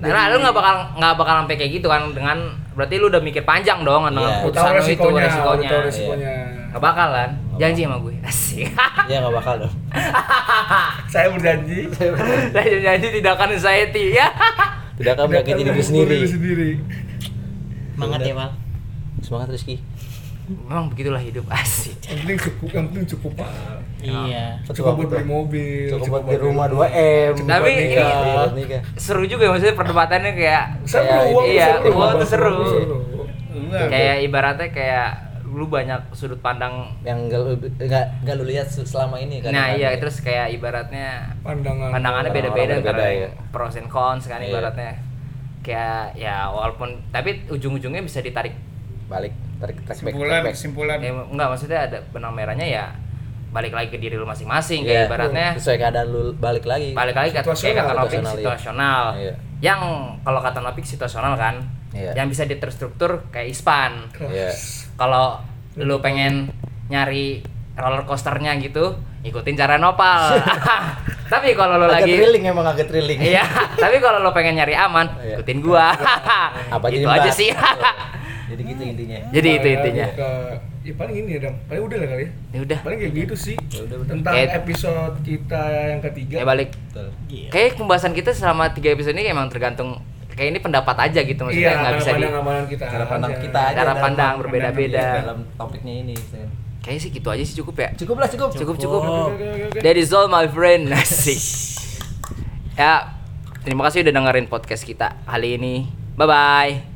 Speaker 1: Nah, lah, lu nggak bakal nggak bakal sampai kayak gitu kan dengan berarti lu udah mikir panjang dong dengan
Speaker 4: Iya.
Speaker 3: Udah
Speaker 1: keputusan
Speaker 3: tahu
Speaker 1: lu
Speaker 3: resikonya,
Speaker 1: itu resikonya.
Speaker 3: udah tahu resikonya.
Speaker 1: Gak bakal kan? Janji sama gue. Asik.
Speaker 4: ya nggak bakal
Speaker 1: *laughs*
Speaker 4: dong
Speaker 3: Saya berjanji
Speaker 1: Janji janji tidak akan anxiety *laughs* ya.
Speaker 4: tidak akan menyakiti diri sendiri
Speaker 3: Diri kan sendiri.
Speaker 2: semangat ya Val
Speaker 4: semangat Rizky
Speaker 1: Memang begitulah hidup asik.
Speaker 3: Yang penting cukup, yang penting cukup Pak.
Speaker 2: iya
Speaker 3: Cukup buat beli mobil,
Speaker 4: cukup buat
Speaker 3: beli
Speaker 4: di rumah 2 m Iya,
Speaker 1: Tapi ini-
Speaker 4: nikah
Speaker 1: Seru juga ya, maksudnya perdebatannya kayak
Speaker 3: Seru,
Speaker 4: Iya,
Speaker 3: uang
Speaker 1: iya,
Speaker 3: tuh seru.
Speaker 1: uang tuh seru.
Speaker 5: Enggak.
Speaker 1: kayak ibaratnya kayak lu banyak sudut pandang.
Speaker 4: yang nggak lu nggak nggak lu lihat selama ini kan
Speaker 1: Nah, iya terus kayak ibaratnya
Speaker 3: Pandangan.
Speaker 1: pandangannya
Speaker 4: Orang-orang
Speaker 1: beda-beda
Speaker 4: beda-beda,
Speaker 1: antara
Speaker 4: iya.
Speaker 1: pros and cons kan
Speaker 4: Iya.
Speaker 1: ibaratnya. Kayak ya walaupun tapi ujung-ujungnya bisa ditarik
Speaker 4: balik tarik tarik back
Speaker 5: kesimpulan
Speaker 4: tarik back.
Speaker 5: kesimpulan
Speaker 1: Eh, enggak maksudnya ada benang merahnya ya balik lagi ke diri lu masing-masing
Speaker 4: Iya.
Speaker 1: kayak ibaratnya
Speaker 4: sesuai keadaan lu balik lagi
Speaker 1: balik lagi ke kayak
Speaker 3: Situasional,
Speaker 1: kata Nopik
Speaker 4: situasional, iya.
Speaker 1: situasional
Speaker 4: Iya.
Speaker 1: yang kalau kata Nopik situasional kan
Speaker 4: Iya.
Speaker 1: yang bisa diterstruktur kayak ispan
Speaker 4: Iya.
Speaker 1: kalau lu pengen nyari roller coasternya gitu ikutin cara
Speaker 4: *laughs*
Speaker 1: nopal *laughs* tapi kalau lu
Speaker 4: agak
Speaker 1: lagi
Speaker 4: thrilling emang agak thrilling
Speaker 1: iya *laughs* tapi kalau lu pengen nyari aman
Speaker 4: Iya.
Speaker 1: ikutin gua
Speaker 4: *laughs*
Speaker 1: *laughs*
Speaker 4: apa
Speaker 1: itu
Speaker 4: jadi
Speaker 1: aja
Speaker 4: mbak?
Speaker 1: sih
Speaker 4: *laughs* jadi gitu intinya
Speaker 1: jadi itu intinya
Speaker 3: Ke, ya paling ini ya, Dam. Paling udah lah kali ya.
Speaker 1: ya udah
Speaker 3: Paling kayak gitu sih.
Speaker 4: Ya udah, udah.
Speaker 3: Tentang
Speaker 1: Kayak-
Speaker 3: episode kita yang ketiga.
Speaker 4: Iya.
Speaker 1: *laughs* ya balik
Speaker 4: betul
Speaker 2: Gila.
Speaker 1: Kayak pembahasan kita selama tiga episode ini emang tergantung kayak ini pendapat aja gitu maksudnya
Speaker 3: Iya,
Speaker 1: nggak bisa di
Speaker 3: pandangan kita.
Speaker 4: cara pandang
Speaker 3: aja.
Speaker 4: kita aja
Speaker 1: cara
Speaker 4: dalam-
Speaker 1: pandang berbeda-beda.
Speaker 4: dalam topiknya ini Sen.
Speaker 1: Kayaknya sih gitu aja sih cukup ya.
Speaker 4: cukup lah cukup
Speaker 1: Cukup
Speaker 2: Cukup.
Speaker 1: cukup.
Speaker 4: *laughs*
Speaker 3: Oke, oke, oke.
Speaker 1: That is all my friend. Asik. ya Terima kasih udah dengerin podcast kita kali ini. Bye bye.